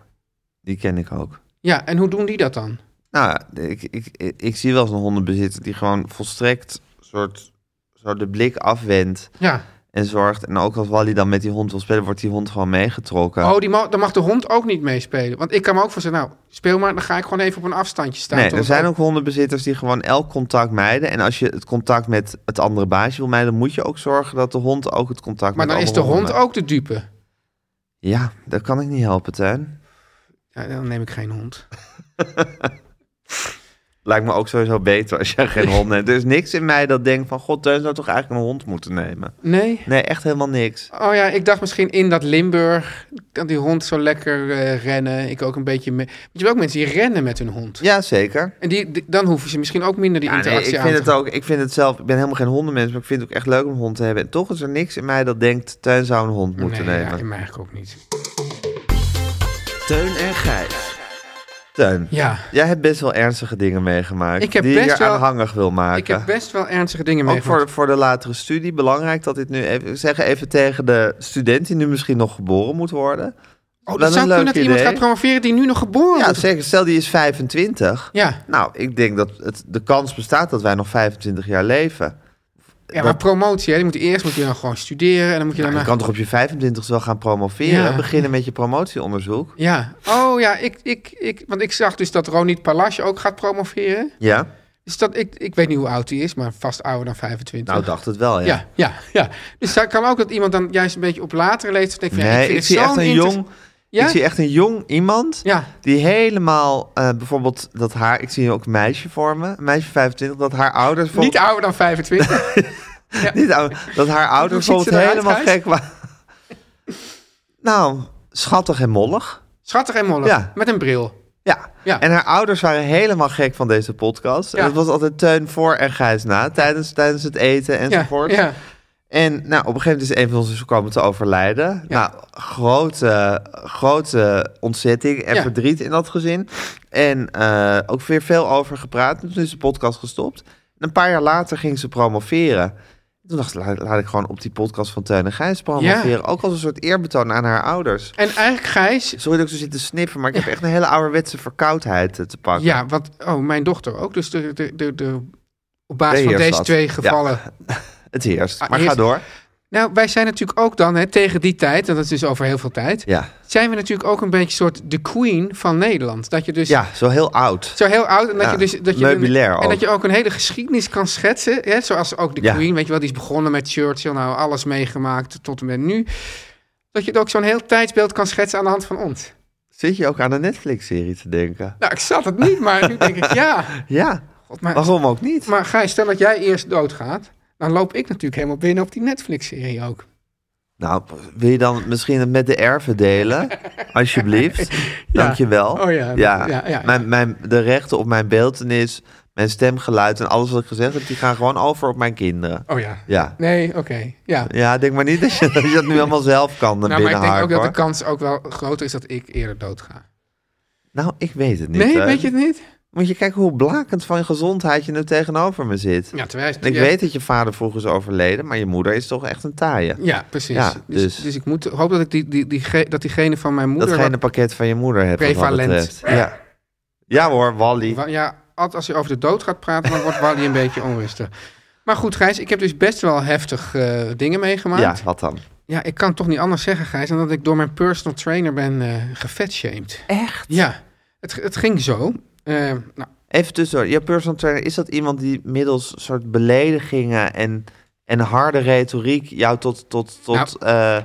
Speaker 1: Die ken ik ook.
Speaker 2: Ja, en hoe doen die dat dan?
Speaker 1: Nou, ik, ik, ik, ik zie wel eens een hondenbezitter die gewoon volstrekt soort, zo de blik afwendt
Speaker 2: Ja.
Speaker 1: en zorgt. En ook als Wally dan met die hond wil spelen, wordt die hond gewoon meegetrokken.
Speaker 2: Oh, die ma- dan mag de hond ook niet meespelen. Want ik kan me ook voorstellen, nou, speel maar, dan ga ik gewoon even op een afstandje staan.
Speaker 1: nee,
Speaker 2: tot
Speaker 1: er
Speaker 2: het
Speaker 1: zijn ook hondenbezitters die gewoon elk contact mijden. En als je het contact met het andere baasje wil mijden, moet je ook zorgen dat de hond ook het contact
Speaker 2: Maar
Speaker 1: met
Speaker 2: dan is de
Speaker 1: andere
Speaker 2: hond
Speaker 1: honden-
Speaker 2: ook de dupe.
Speaker 1: Ja, dat kan ik niet helpen, Tuin.
Speaker 2: Ja, dan neem ik geen hond.
Speaker 1: Lijkt me ook sowieso beter als jij geen hond neemt. Er is niks in mij dat denkt van... God, Teun zou toch eigenlijk een hond moeten nemen?
Speaker 2: Nee?
Speaker 1: Nee, echt helemaal niks.
Speaker 2: Oh ja, ik dacht misschien in dat Limburg, kan die hond zo lekker eh, rennen. Ik ook een beetje mee. Want je hebt ook mensen die rennen met hun hond.
Speaker 1: Ja, zeker.
Speaker 2: En die, die- dan hoeven ze misschien ook minder die
Speaker 1: Ja, nee,
Speaker 2: interactie
Speaker 1: ik
Speaker 2: aan
Speaker 1: vind
Speaker 2: te
Speaker 1: het ook. Ik vind het zelf. Ik ben helemaal geen hondenmens, maar ik vind het ook echt leuk om een hond te hebben. En toch is er niks in mij dat denkt: Tuin zou een hond moeten
Speaker 2: nee, Ja,
Speaker 1: nemen.
Speaker 2: in mij eigenlijk ook niet.
Speaker 3: Teun en Gijs.
Speaker 1: Tuin,
Speaker 2: Ja,
Speaker 1: jij hebt best wel ernstige dingen meegemaakt.
Speaker 2: Ik heb
Speaker 1: die
Speaker 2: best
Speaker 1: je
Speaker 2: wel-
Speaker 1: aanhangig wil maken.
Speaker 2: ik heb best wel ernstige dingen
Speaker 1: ook
Speaker 2: meegemaakt.
Speaker 1: voor, voor de latere studie. Belangrijk dat dit nu even. Ik zeg even tegen de student die nu misschien nog geboren moet worden.
Speaker 2: Oh,
Speaker 1: Wel
Speaker 2: dat
Speaker 1: een
Speaker 2: zou kunnen
Speaker 1: leuk
Speaker 2: dat iemand
Speaker 1: idee.
Speaker 2: gaat promoveren die nu nog geboren
Speaker 1: Ja,
Speaker 2: wordt.
Speaker 1: zeker. Stel die is 25.
Speaker 2: Ja,
Speaker 1: Nou, ik denk dat het, de kans bestaat dat wij nog 25 jaar leven.
Speaker 2: ja maar promotie, hè. Die moet eerst moet je dan gewoon studeren en dan moet je
Speaker 1: Nou, Je
Speaker 2: daarna...
Speaker 1: kan toch op je 25 wel gaan promoveren?
Speaker 2: Ja.
Speaker 1: Beginnen met je promotieonderzoek.
Speaker 2: Ja, oh ja, ik, ik, ik, want ik zag dus dat Ronit Palasje ook gaat promoveren.
Speaker 1: Ja.
Speaker 2: Dus dat, ik, ik weet niet hoe oud hij is, maar vast ouder dan 25.
Speaker 1: Nou, dacht het wel, ja.
Speaker 2: ja, ja, ja. Dus dat kan ook dat iemand dan juist een beetje op latere leeftijd denkt van... ja,
Speaker 1: nee,
Speaker 2: vind
Speaker 1: ik
Speaker 2: het
Speaker 1: zie, echt
Speaker 2: zo'n
Speaker 1: een
Speaker 2: inter-
Speaker 1: jong,
Speaker 2: Ja?
Speaker 1: ik zie echt een jong iemand
Speaker 2: Ja,
Speaker 1: die helemaal, eh, bijvoorbeeld dat haar, ik zie ook een meisje voor me, een meisje 25, dat haar ouders
Speaker 2: niet
Speaker 1: bijvoorbeeld-
Speaker 2: ouder dan 25.
Speaker 1: niet ouder, dat haar ouders
Speaker 2: ziet ze
Speaker 1: bijvoorbeeld
Speaker 2: eruit,
Speaker 1: helemaal
Speaker 2: Gijs?
Speaker 1: gek waren. Nou, schattig en mollig.
Speaker 2: Schattig en mollig.
Speaker 1: Ja.
Speaker 2: Met een bril.
Speaker 1: Ja.
Speaker 2: Ja.
Speaker 1: en haar ouders waren helemaal gek van deze podcast.
Speaker 2: Ja.
Speaker 1: En het was altijd teun voor en gijs na, tijdens, tijdens het eten
Speaker 2: Ja,
Speaker 1: enzovoort.
Speaker 2: ja.
Speaker 1: En nou, op een gegeven moment is een van ons dus komen te overlijden.
Speaker 2: Ja.
Speaker 1: Nou, grote, grote ontzetting en
Speaker 2: Ja.
Speaker 1: verdriet in dat gezin. En eh, ook weer veel over gepraat. En toen is de podcast gestopt. En een paar jaar later ging ze promoveren. Toen dacht ik, laat, laat ik gewoon op die podcast van Teun en Gijs promoveren.
Speaker 2: Ja.
Speaker 1: Ook als een soort eerbetoon aan haar ouders.
Speaker 2: En eigenlijk Gijs...
Speaker 1: Sorry dat ik zo zit te sniffen, maar ik heb echt een hele ouderwetse verkoudheid eh, te pakken.
Speaker 2: Ja, want... Oh, mijn dochter ook. Dus de, de, de, de, op basis van
Speaker 1: Beheerst
Speaker 2: deze
Speaker 1: dat.
Speaker 2: twee
Speaker 1: Ja.
Speaker 2: gevallen...
Speaker 1: Het heerst.
Speaker 2: Ah,
Speaker 1: maar
Speaker 2: heerst.
Speaker 1: ga door.
Speaker 2: Nou, wij zijn natuurlijk ook dan, hè, tegen die tijd, en dat is dus over heel veel tijd,
Speaker 1: Ja.
Speaker 2: zijn we natuurlijk ook een beetje soort de queen van Nederland. Dat je dus
Speaker 1: ja, zo heel oud.
Speaker 2: zo heel oud en dat
Speaker 1: Ja,
Speaker 2: je dus dat je
Speaker 1: meubilair
Speaker 2: en
Speaker 1: ook.
Speaker 2: dat je ook een hele geschiedenis kan schetsen, hè, zoals ook de
Speaker 1: Ja.
Speaker 2: queen, weet je wel, die is begonnen met Churchill, nou alles meegemaakt tot en met nu. Dat je het ook zo'n heel tijdsbeeld kan schetsen aan de hand van ons.
Speaker 1: Zit je ook aan een Netflix-serie te denken?
Speaker 2: Nou, ik zat het niet, maar nu denk ik ja.
Speaker 1: Ja,
Speaker 2: God, maar,
Speaker 1: waarom ook niet?
Speaker 2: maar Gijs, stel dat jij eerst doodgaat, dan loop ik natuurlijk helemaal binnen op die Netflix-serie ook.
Speaker 1: Nou, wil je dan misschien het met de erven delen? Alsjeblieft. Dankjewel.
Speaker 2: Oh ja,
Speaker 1: ja.
Speaker 2: ja, ja.
Speaker 1: Mijn, mijn, de rechten op mijn beeltenis, mijn stemgeluid en alles wat ik gezegd heb, die gaan gewoon over op mijn kinderen.
Speaker 2: Oh ja.
Speaker 1: Ja.
Speaker 2: Nee, oké. Ja.
Speaker 1: Ja, denk maar niet dat je dat, je dat nu allemaal zelf kan
Speaker 2: Nou, maar ik denk ook
Speaker 1: binnenharken,
Speaker 2: dat de
Speaker 1: hoor.
Speaker 2: kans ook wel groter is dat ik eerder doodga.
Speaker 1: Nou, ik weet het niet.
Speaker 2: nee,
Speaker 1: hè.
Speaker 2: weet je het niet?
Speaker 1: Moet je kijken hoe blakend van je gezondheid je nu tegenover me zit.
Speaker 2: Ja, terwijl
Speaker 1: En ik weet dat je vader vroeg is overleden, maar je moeder is toch echt een taaie.
Speaker 2: Ja, precies.
Speaker 1: Ja,
Speaker 2: dus,
Speaker 1: dus-
Speaker 2: dus, ik moet, hoop dat ik die, die, die, ge- dat diegene van mijn moeder...
Speaker 1: Datgene
Speaker 2: wat-
Speaker 1: pakket van je moeder hebt. wat dat
Speaker 2: Prevalent.
Speaker 1: betreft. Ja. ja hoor, Wally.
Speaker 2: wa- ja, altijd als je over de dood gaat praten, dan wordt Wally een beetje onrustig. Maar goed, Gijs, ik heb dus best wel heftig eh, dingen meegemaakt.
Speaker 1: Ja,
Speaker 2: Ja.
Speaker 1: wat dan?
Speaker 2: ik kan toch niet anders zeggen, Gijs, dan dat ik door mijn personal trainer ben eh gefetshamed.
Speaker 1: Echt?
Speaker 2: Ja, het, het ging zo. Eh, nou,
Speaker 1: Even tussendoor, je personal trainer, is dat iemand die middels soort beledigingen en, en harde retoriek jou tot, tot, tot, eh,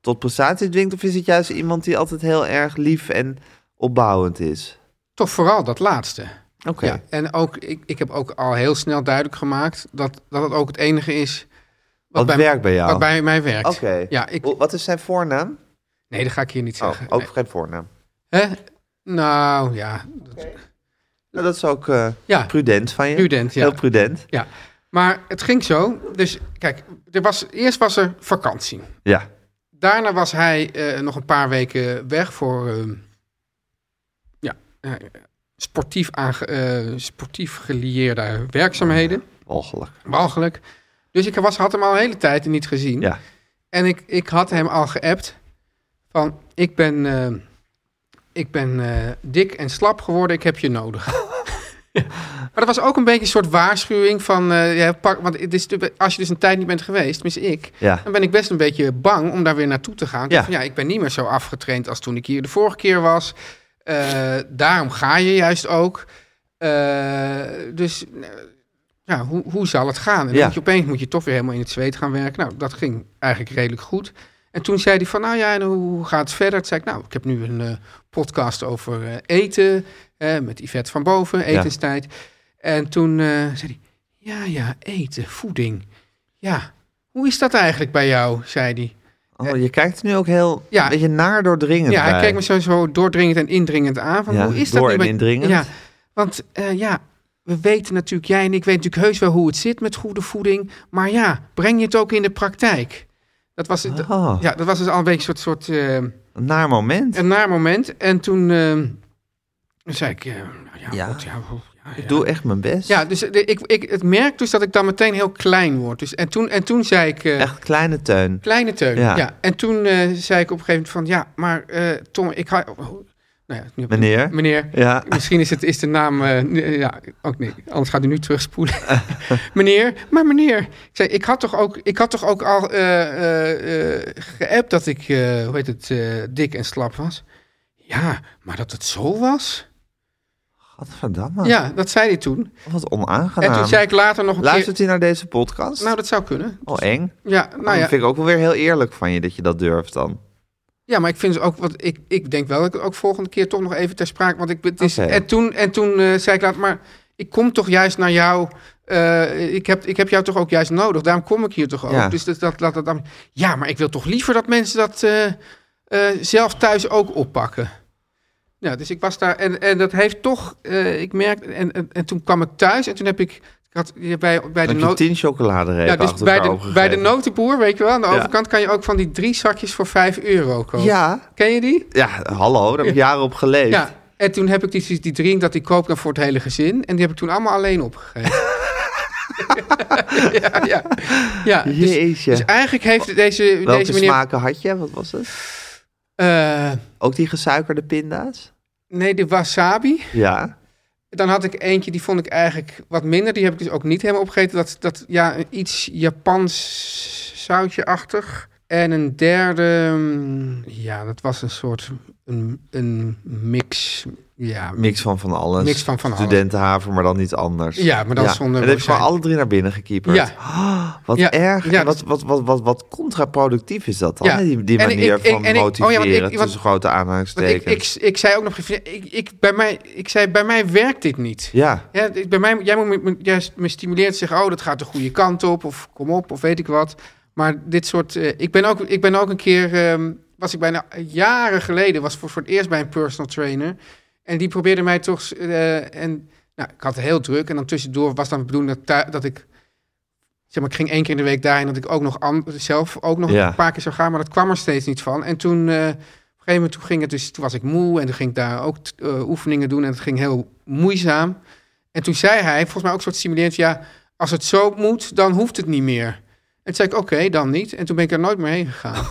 Speaker 1: tot prestatie dwingt? Of is het juist iemand die altijd heel erg lief en opbouwend is?
Speaker 2: toch vooral dat laatste.
Speaker 1: Oké.
Speaker 2: Ja, en ook, ik, ik heb ook al heel snel duidelijk gemaakt dat, dat het ook het enige is
Speaker 1: Wat
Speaker 2: bij,
Speaker 1: werkt bij jou?
Speaker 2: wat bij mij werkt.
Speaker 1: Oké.
Speaker 2: Ja, ik,
Speaker 1: O, Wat is zijn voornaam?
Speaker 2: nee, dat ga ik eh, hier niet
Speaker 1: Oh,
Speaker 2: zeggen.
Speaker 1: ook
Speaker 2: Nee.
Speaker 1: geen voornaam.
Speaker 2: Hè? Nou ja,
Speaker 1: Nou, dat is ook eh,
Speaker 2: ja,
Speaker 1: prudent van je.
Speaker 2: prudent. Ja.
Speaker 1: Heel prudent.
Speaker 2: ja. Maar het ging zo. Dus kijk, er was, eerst was er vakantie.
Speaker 1: Ja.
Speaker 2: Daarna was hij eh, nog een paar weken weg voor eh, ja, eh, sportief, aange, eh, sportief gelieerde werkzaamheden.
Speaker 1: Walgelijk.
Speaker 2: Walgelijk. Dus ik was, had hem al een hele tijd niet gezien.
Speaker 1: Ja.
Speaker 2: En ik, ik had hem al geappt van ik ben, eh, ik ben eh, dik en slap geworden, ik heb je nodig. Ja. Maar dat was ook een beetje een soort waarschuwing van, eh, ja, pak, want het is, natuurlijk- als je dus een tijd niet bent geweest, mis ik,
Speaker 1: Ja.
Speaker 2: dan ben ik best een beetje bang om daar weer naartoe te gaan.
Speaker 1: Ja.
Speaker 2: Ja. Van, ja, ik ben niet meer zo afgetraind als toen ik hier de vorige keer was. Eh, daarom ga je juist ook. Eh, dus eh, ja, hoe, hoe zal het gaan? En dan
Speaker 1: Ja.
Speaker 2: moet je opeens moet je toch weer helemaal in het zweet gaan werken. Nou, dat ging eigenlijk redelijk goed. En toen zei hij van, nou ja, en hoe gaat het verder? Toen zei ik, nou, ik heb nu een eh, podcast over eh, eten eh, met Yvette van Boven, etenstijd. En toen eh, zei hij, ja, ja, eten, voeding. Ja, hoe is dat eigenlijk bij jou, zei hij.
Speaker 1: Oh, je kijkt er nu ook heel
Speaker 2: Ja.
Speaker 1: een beetje naar doordringend
Speaker 2: Ja, hij
Speaker 1: bij.
Speaker 2: keek me zo, zo doordringend en indringend aan. Van,
Speaker 1: Ja,
Speaker 2: hoe is
Speaker 1: door
Speaker 2: dat nu
Speaker 1: en
Speaker 2: bij...
Speaker 1: indringend.
Speaker 2: Ja, want eh, ja, we weten natuurlijk, jij en ik weten natuurlijk heus wel hoe het zit met goede voeding. Maar ja, breng je het ook in de praktijk? Dat was, het.
Speaker 1: Ah,
Speaker 2: ja, dat was dus al een beetje een soort, soort eh,
Speaker 1: een naar moment.
Speaker 2: een naar moment. En toen eh, zei ik, eh, nou ja,
Speaker 1: Ja.
Speaker 2: God, ja, wel, ja, ja.
Speaker 1: Ik doe echt mijn best.
Speaker 2: Ja, dus de- ik, ik, het merk dus dat ik dan meteen heel klein word. Dus, en, toen, en toen zei ik... eh,
Speaker 1: Echt kleine teun.
Speaker 2: Kleine teun,
Speaker 1: Ja.
Speaker 2: ja. En toen eh, zei ik op een gegeven moment van... Ja, maar eh, Tom, ik ga... oh, nou ja, nu-
Speaker 1: Meneer.
Speaker 2: Meneer.
Speaker 1: Ja.
Speaker 2: Misschien is, het, is de naam... eh, nu- ja, ook nee. Anders gaat u nu terugspoelen. meneer. Maar meneer. Ik, zei, ik, had, toch ook, ik had toch ook al eh, eh, eh, geappt dat ik... eh, hoe heet het? eh, dik en slap was. Ja, maar dat het zo was?
Speaker 1: Gadverdamme.
Speaker 2: Ja, dat zei hij toen.
Speaker 1: Wat
Speaker 2: En
Speaker 1: onaangenaam.
Speaker 2: toen zei ik later nog een
Speaker 1: Luistert hij naar deze podcast?
Speaker 2: keer... Nou, dat zou kunnen.
Speaker 1: Oh, eng.
Speaker 2: Ja, nou ja.
Speaker 1: Dat vind ik ook wel weer heel eerlijk van je dat je dat durft dan.
Speaker 2: Ja, maar ik vind ze ook wat. Ik, ik denk wel dat ik het ook volgende keer toch nog even ter sprake. Want ik, het is,
Speaker 1: Oké.
Speaker 2: en toen, en toen eh, zei ik laat, maar ik kom toch juist naar jou. eh, ik, heb, ik heb jou toch ook juist nodig. Daarom kom ik hier toch ook.
Speaker 1: Ja.
Speaker 2: Dus dat, dat, laat dat dan. Ja, maar ik wil toch liever dat mensen dat eh, eh, zelf thuis ook oppakken. Ja, dus ik was daar. En, en dat heeft toch. eh, ik merk. En, en, en toen kwam ik thuis en toen heb ik. Ik had hier bij, bij de
Speaker 1: Dan heb je
Speaker 2: nood.
Speaker 1: tien chocoladerepen
Speaker 2: Ja, dus
Speaker 1: achter
Speaker 2: bij
Speaker 1: elkaar
Speaker 2: de, bij de
Speaker 1: opgegeven.
Speaker 2: notenboer, weet je wel, aan de
Speaker 1: Ja.
Speaker 2: overkant kan je ook van die drie zakjes voor 5 euro kopen.
Speaker 1: Ja,
Speaker 2: Ken je die?
Speaker 1: ja, hallo, daar heb ik jaren op geleefd.
Speaker 2: Ja. En toen heb ik die, die drink dat die koop dan voor het hele gezin. En die heb ik toen allemaal alleen opgegeven. ja, ja. ja dus,
Speaker 1: Jeetje.
Speaker 2: dus eigenlijk heeft deze,
Speaker 1: Welke
Speaker 2: deze meneer...
Speaker 1: smaken had je? Wat was het?
Speaker 2: eh,
Speaker 1: Ook die gesuikerde pinda's?
Speaker 2: nee, de wasabi.
Speaker 1: Ja.
Speaker 2: Dan had ik eentje, die vond ik eigenlijk wat minder. Die heb ik dus ook niet helemaal opgegeten. Dat, dat ja, een iets Japans zoutje-achtig. En een derde, mm, ja, dat was een soort, een, een mix, ja,
Speaker 1: Mix van van alles.
Speaker 2: Mix van van alles.
Speaker 1: Studentenhaven, maar dan iets anders.
Speaker 2: Ja, maar dan zonder
Speaker 1: En dat heb je
Speaker 2: rozijn.
Speaker 1: gewoon alle drie naar binnen gekieperd.
Speaker 2: Ja.
Speaker 1: Ah, wat
Speaker 2: Ja,
Speaker 1: erg.
Speaker 2: ja,
Speaker 1: En wat,
Speaker 2: dat-
Speaker 1: wat, wat, wat, wat contraproductief is dat dan?
Speaker 2: Ja.
Speaker 1: hè? Die, die
Speaker 2: En ik-
Speaker 1: manier
Speaker 2: ik-
Speaker 1: van
Speaker 2: en ik- oh ja, want ik-
Speaker 1: motiveren
Speaker 2: want-
Speaker 1: tussen grote
Speaker 2: Want ik,
Speaker 1: aanhalingstekens.
Speaker 2: ik, ik zei ook nog, ik, ik, bij mij, ik zei, bij mij werkt dit niet.
Speaker 1: ja.
Speaker 2: Ja, ik- bij mij, jij moet me- me, jij me stimuleert te zeggen, oh, dat gaat de goede kant op, of kom op, of weet ik wat. Maar dit soort, eh, ik, ben ook, ik ben ook een keer, ehm, was ik bijna jaren geleden, was voor, voor het eerst bij een personal trainer. En die probeerde mij toch, eh, en nou, ik had het heel druk. En dan tussendoor was dan de bedoeling dat, thui- dat ik, zeg maar, ik ging één keer in de week daarheen, dat ik ook nog an- zelf ook nog
Speaker 1: Ja.
Speaker 2: een paar keer zou gaan, maar dat kwam er steeds niet van. En toen... eh, op een gegeven moment toen ging het dus, toen was ik moe en toen ging ik daar ook t- eh, oefeningen doen en het ging heel moeizaam. En toen zei hij, volgens mij ook een soort stimulerend, ja, als het zo moet, dan hoeft het niet meer. En toen zei ik, oké, dan niet. En toen ben ik er nooit meer heen gegaan.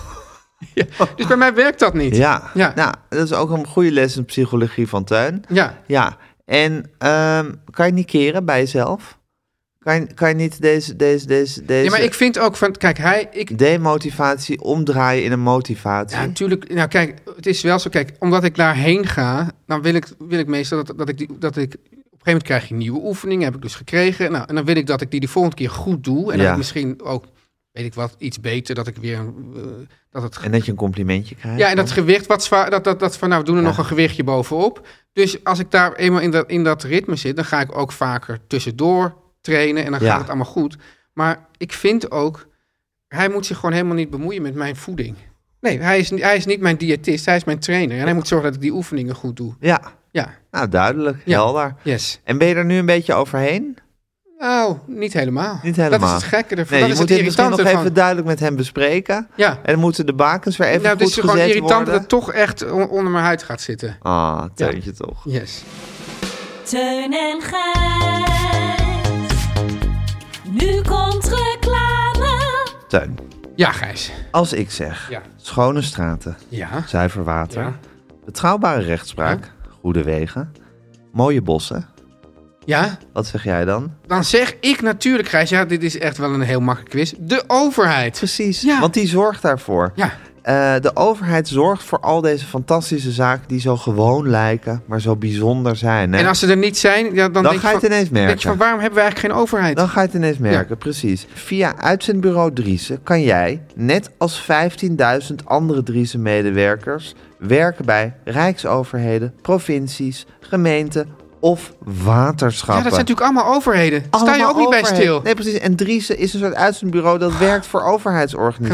Speaker 2: ja, dus bij mij werkt dat niet.
Speaker 1: Ja.
Speaker 2: Ja.
Speaker 1: nou, dat is ook een goede les in psychologie van tuin.
Speaker 2: Ja.
Speaker 1: Ja, en ehm, kan je niet keren bij jezelf? Kan je, kan je niet deze, deze, deze, deze
Speaker 2: ja, maar ik vind ook van, kijk, hij, ik,
Speaker 1: demotivatie omdraaien in een motivatie?
Speaker 2: Ja, natuurlijk. Nou, kijk, het is wel zo. Kijk, omdat ik daarheen ga, dan wil ik, wil ik meestal dat, dat ik die, dat ik. Op een gegeven moment krijg je nieuwe oefeningen, heb ik dus gekregen. Nou, en dan wil ik dat ik die de volgende keer goed doe. En
Speaker 1: Ja.
Speaker 2: dat ik misschien ook, weet ik wat, iets beter. Dat ik weer. eh, dat het,
Speaker 1: En dat je een complimentje krijgt?
Speaker 2: ja, en dat gewicht wat zwaar. Dat, dat, dat van nou, we doen er
Speaker 1: Ja.
Speaker 2: nog een gewichtje bovenop. Dus als ik daar eenmaal in dat, in dat ritme zit, dan ga ik ook vaker tussendoor trainen. En dan
Speaker 1: Ja.
Speaker 2: gaat het allemaal goed. Maar ik vind ook, hij moet zich gewoon helemaal niet bemoeien met mijn voeding. Nee, hij is, ni- hij is niet mijn diëtist, hij is mijn trainer. En hij moet zorgen dat ik die oefeningen goed doe.
Speaker 1: Ja,
Speaker 2: Ja,
Speaker 1: nou duidelijk,
Speaker 2: Ja.
Speaker 1: helder.
Speaker 2: yes.
Speaker 1: En ben je er nu een beetje overheen?
Speaker 2: Nou, niet helemaal.
Speaker 1: Niet helemaal.
Speaker 2: Dat is het gekke
Speaker 1: Nee,
Speaker 2: ervan. dat
Speaker 1: je
Speaker 2: is
Speaker 1: moet
Speaker 2: het
Speaker 1: dit misschien nog
Speaker 2: irritante
Speaker 1: even
Speaker 2: van.
Speaker 1: duidelijk met hem bespreken.
Speaker 2: Ja,
Speaker 1: En dan moeten de bakens weer even
Speaker 2: nou, het
Speaker 1: goed
Speaker 2: is gewoon
Speaker 1: gezet
Speaker 2: irritant
Speaker 1: worden.
Speaker 2: dat het toch echt on- onder mijn huid gaat zitten.
Speaker 1: Ah, teuntje toch.
Speaker 2: Yes.
Speaker 5: Teun en Gijs. Nu komt reclame.
Speaker 1: Teun,
Speaker 2: Ja, Gijs.
Speaker 1: als ik zeg,
Speaker 2: Ja.
Speaker 1: schone straten,
Speaker 2: Ja.
Speaker 1: zuiver water,
Speaker 2: Ja.
Speaker 1: betrouwbare rechtspraak, goede wegen, mooie bossen.
Speaker 2: Ja,
Speaker 1: Wat zeg jij dan?
Speaker 2: dan zeg ik natuurlijk, Gijs, ja, dit is echt wel een heel makkelijk quiz. De overheid.
Speaker 1: Precies,
Speaker 2: Ja.
Speaker 1: want die zorgt daarvoor.
Speaker 2: Ja,
Speaker 1: Eh, de overheid zorgt voor al deze fantastische zaken die zo gewoon lijken, maar zo bijzonder zijn. Hè?
Speaker 2: en als ze er niet zijn, ja, dan,
Speaker 1: dan
Speaker 2: denk
Speaker 1: ga je
Speaker 2: je
Speaker 1: het
Speaker 2: van,
Speaker 1: ineens
Speaker 2: denk je
Speaker 1: merken.
Speaker 2: van, waarom hebben we eigenlijk geen overheid?
Speaker 1: Dan ga je het ineens merken, precies. Via uitzendbureau Driesen kan jij, net als 15.000 andere Driesen-medewerkers, werken bij rijksoverheden, provincies, gemeenten of waterschappen.
Speaker 2: Ja, dat zijn natuurlijk allemaal overheden. Daar Sta je ook
Speaker 1: Allemaal
Speaker 2: niet bij
Speaker 1: overheid.
Speaker 2: stil.
Speaker 1: Nee, precies. En Driessen is een soort uitzendbureau dat werkt voor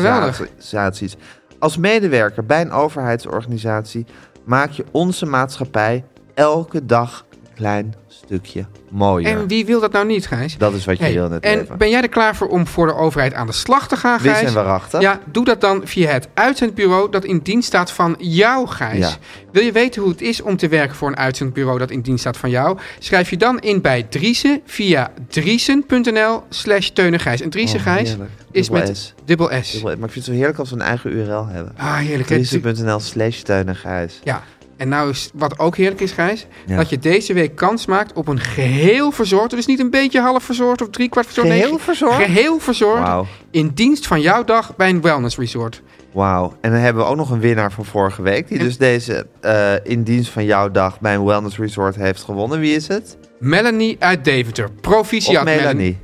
Speaker 1: overheidsorganisaties. Als medewerker bij een overheidsorganisatie maak je onze maatschappij elke dag een klein stukje mooier.
Speaker 2: En wie wil dat nou niet, Gijs?
Speaker 1: Dat is wat je
Speaker 2: Hey,
Speaker 1: wil in het
Speaker 2: en
Speaker 1: leven.
Speaker 2: ben jij er klaar voor om voor de overheid aan de slag te gaan,
Speaker 1: Wis
Speaker 2: Gijs?
Speaker 1: en waarachtig.
Speaker 2: Ja, doe dat dan via het uitzendbureau dat in dienst staat van jou, Gijs.
Speaker 1: Ja.
Speaker 2: Wil je weten hoe het is om te werken voor een uitzendbureau dat in dienst staat van jou? Schrijf je dan in bij Driesen via driesen.nl slash teunengijs. En Driesen,
Speaker 1: Oh,
Speaker 2: Gijs,
Speaker 1: heerlijk.
Speaker 2: is
Speaker 1: Dubbel
Speaker 2: met
Speaker 1: S.
Speaker 2: dubbel S.
Speaker 1: Maar ik vind het zo heerlijk als we een eigen URL hebben.
Speaker 2: Ah, heerlijk. hè?
Speaker 1: Driessen.nl slash tuinighuis.
Speaker 2: Ja. En nou is wat ook heerlijk is, Gijs,
Speaker 1: Ja.
Speaker 2: dat je deze week kans maakt op een geheel verzorgd, dus niet een beetje half verzorgd of driekwart verzorgd. nee,
Speaker 1: Geheel verzorgd?
Speaker 2: Geheel verzorgd.
Speaker 1: Wauw.
Speaker 2: In dienst van jouw dag bij een wellness resort.
Speaker 1: Wauw. En dan hebben we ook nog een winnaar van vorige week. Die
Speaker 2: En-
Speaker 1: dus deze eh, in dienst van jouw dag bij een wellness resort heeft gewonnen. Wie is het?
Speaker 2: Melanie uit Deventer. Proficiat
Speaker 1: Of Melanie.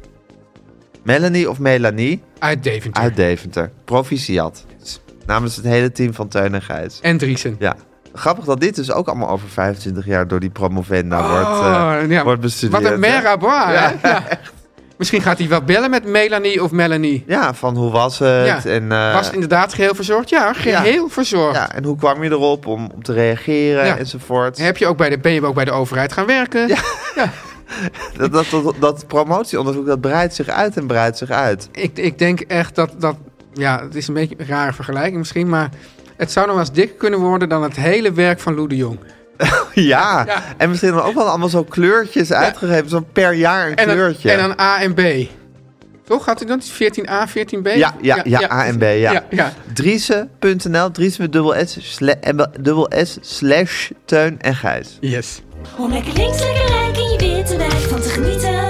Speaker 1: Melanie of Melanie
Speaker 2: Uit Deventer.
Speaker 1: uit Deventer. Proficiat. Namens het hele team van Teun en Gijs.
Speaker 2: En Driesen.
Speaker 1: Ja. Grappig dat dit dus ook allemaal over 25 jaar door die promovenda wordt,
Speaker 2: Oh,
Speaker 1: eh,
Speaker 2: ja.
Speaker 1: wordt bestudeerd.
Speaker 2: Wat een
Speaker 1: hè?
Speaker 2: merabra, hè? Ja. Misschien gaat hij wel bellen met Melanie of Melanie.
Speaker 1: Ja, van hoe was het?
Speaker 2: Ja.
Speaker 1: En, eh,
Speaker 2: Was het inderdaad geheel verzorgd? Ja, geheel verzorgd.
Speaker 1: ja, en hoe kwam je erop om, om te reageren
Speaker 2: Ja.
Speaker 1: enzovoort?
Speaker 2: Heb je ook bij de, ben je ook bij de overheid gaan werken?
Speaker 1: Dat, dat, dat, dat promotieonderzoek, dat breidt zich uit en breidt zich uit.
Speaker 2: Ik, ik denk echt dat, dat... Ja, het is een beetje een rare vergelijking misschien, maar... Het zou nog wel eens dikker kunnen worden dan het hele werk van Lou de Jong.
Speaker 1: Ja,
Speaker 2: Ja.
Speaker 1: en misschien dan ook wel allemaal zo kleurtjes uitgegeven. Zo per jaar een
Speaker 2: En dan,
Speaker 1: kleurtje.
Speaker 2: en dan A en B. Toch? Had hij dan iets? 14a, 14b?
Speaker 1: ja, ja, ja, A en B, ja.
Speaker 2: ja, ja.
Speaker 1: Driesen.nl, Driesen met dubbel S, sla- en wel- dubbel S, slash Teun en Gijs.
Speaker 2: Yes.
Speaker 5: Om lekker links, lekker rijk in je witte wijk van te genieten.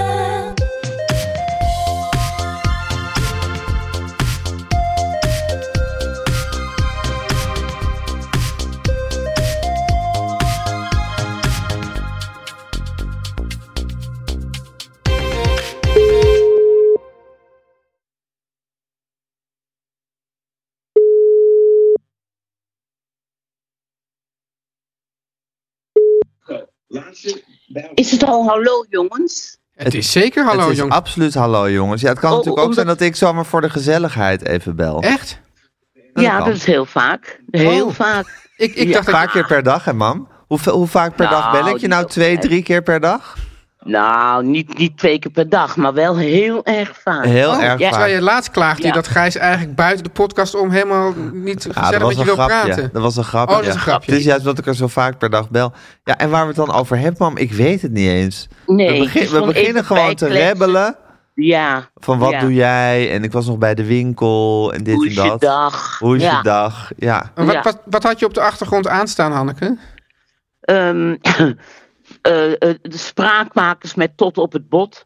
Speaker 6: Is het al hallo jongens?
Speaker 2: Het is zeker hallo
Speaker 1: het is
Speaker 2: jong.
Speaker 1: absoluut hallo jongens. Ja, het kan
Speaker 6: Oh,
Speaker 1: natuurlijk ook
Speaker 6: omdat-
Speaker 1: zijn dat ik zomaar voor de gezelligheid even bel.
Speaker 2: Echt?
Speaker 6: ja,
Speaker 1: kan.
Speaker 6: dat is heel vaak. Heel
Speaker 2: Oh.
Speaker 6: vaak.
Speaker 2: Ik, ik
Speaker 6: Ja.
Speaker 2: dacht dat
Speaker 1: Een paar keer per dag, hè mam? Hoe, hoe vaak per dag
Speaker 6: Nou,
Speaker 1: bel ik je
Speaker 6: niet
Speaker 1: nou?
Speaker 6: zo
Speaker 1: Twee,
Speaker 6: vaak.
Speaker 1: drie keer per dag?
Speaker 6: Nou, niet, niet twee keer per dag, maar wel heel erg vaak.
Speaker 1: Heel erg
Speaker 2: Oh,
Speaker 6: ja.
Speaker 1: vaak.
Speaker 2: Terwijl je laatst klaagde je
Speaker 6: Ja.
Speaker 2: dat Gijs eigenlijk buiten de podcast om helemaal niet
Speaker 1: Ah,
Speaker 2: gezellig met je wil praten.
Speaker 1: Dat was een grapje. Dus
Speaker 2: Oh, dat is een grapje.
Speaker 1: Het is juist dat ik er zo vaak per dag bel. Ja, en waar we het dan over hebben, mam, ik weet het niet eens.
Speaker 6: Nee,
Speaker 1: we
Speaker 6: het
Speaker 1: begin-
Speaker 6: is
Speaker 1: we
Speaker 6: gewoon
Speaker 1: beginnen
Speaker 6: even
Speaker 1: gewoon te
Speaker 6: bijkletsen.
Speaker 1: rebbelen
Speaker 6: Ja.
Speaker 1: van wat
Speaker 6: Ja.
Speaker 1: doe jij? En ik was nog bij de winkel en dit
Speaker 6: Hoe
Speaker 1: en
Speaker 6: is
Speaker 1: dat.
Speaker 6: je dag?
Speaker 1: Hoe is
Speaker 6: Ja.
Speaker 1: je dag? Ja.
Speaker 2: En Wat,
Speaker 6: Ja.
Speaker 2: wat, wat had je op de achtergrond aanstaan, Hanneke?
Speaker 6: Ehm, eh, eh, de spraakmakers met tot op het bot.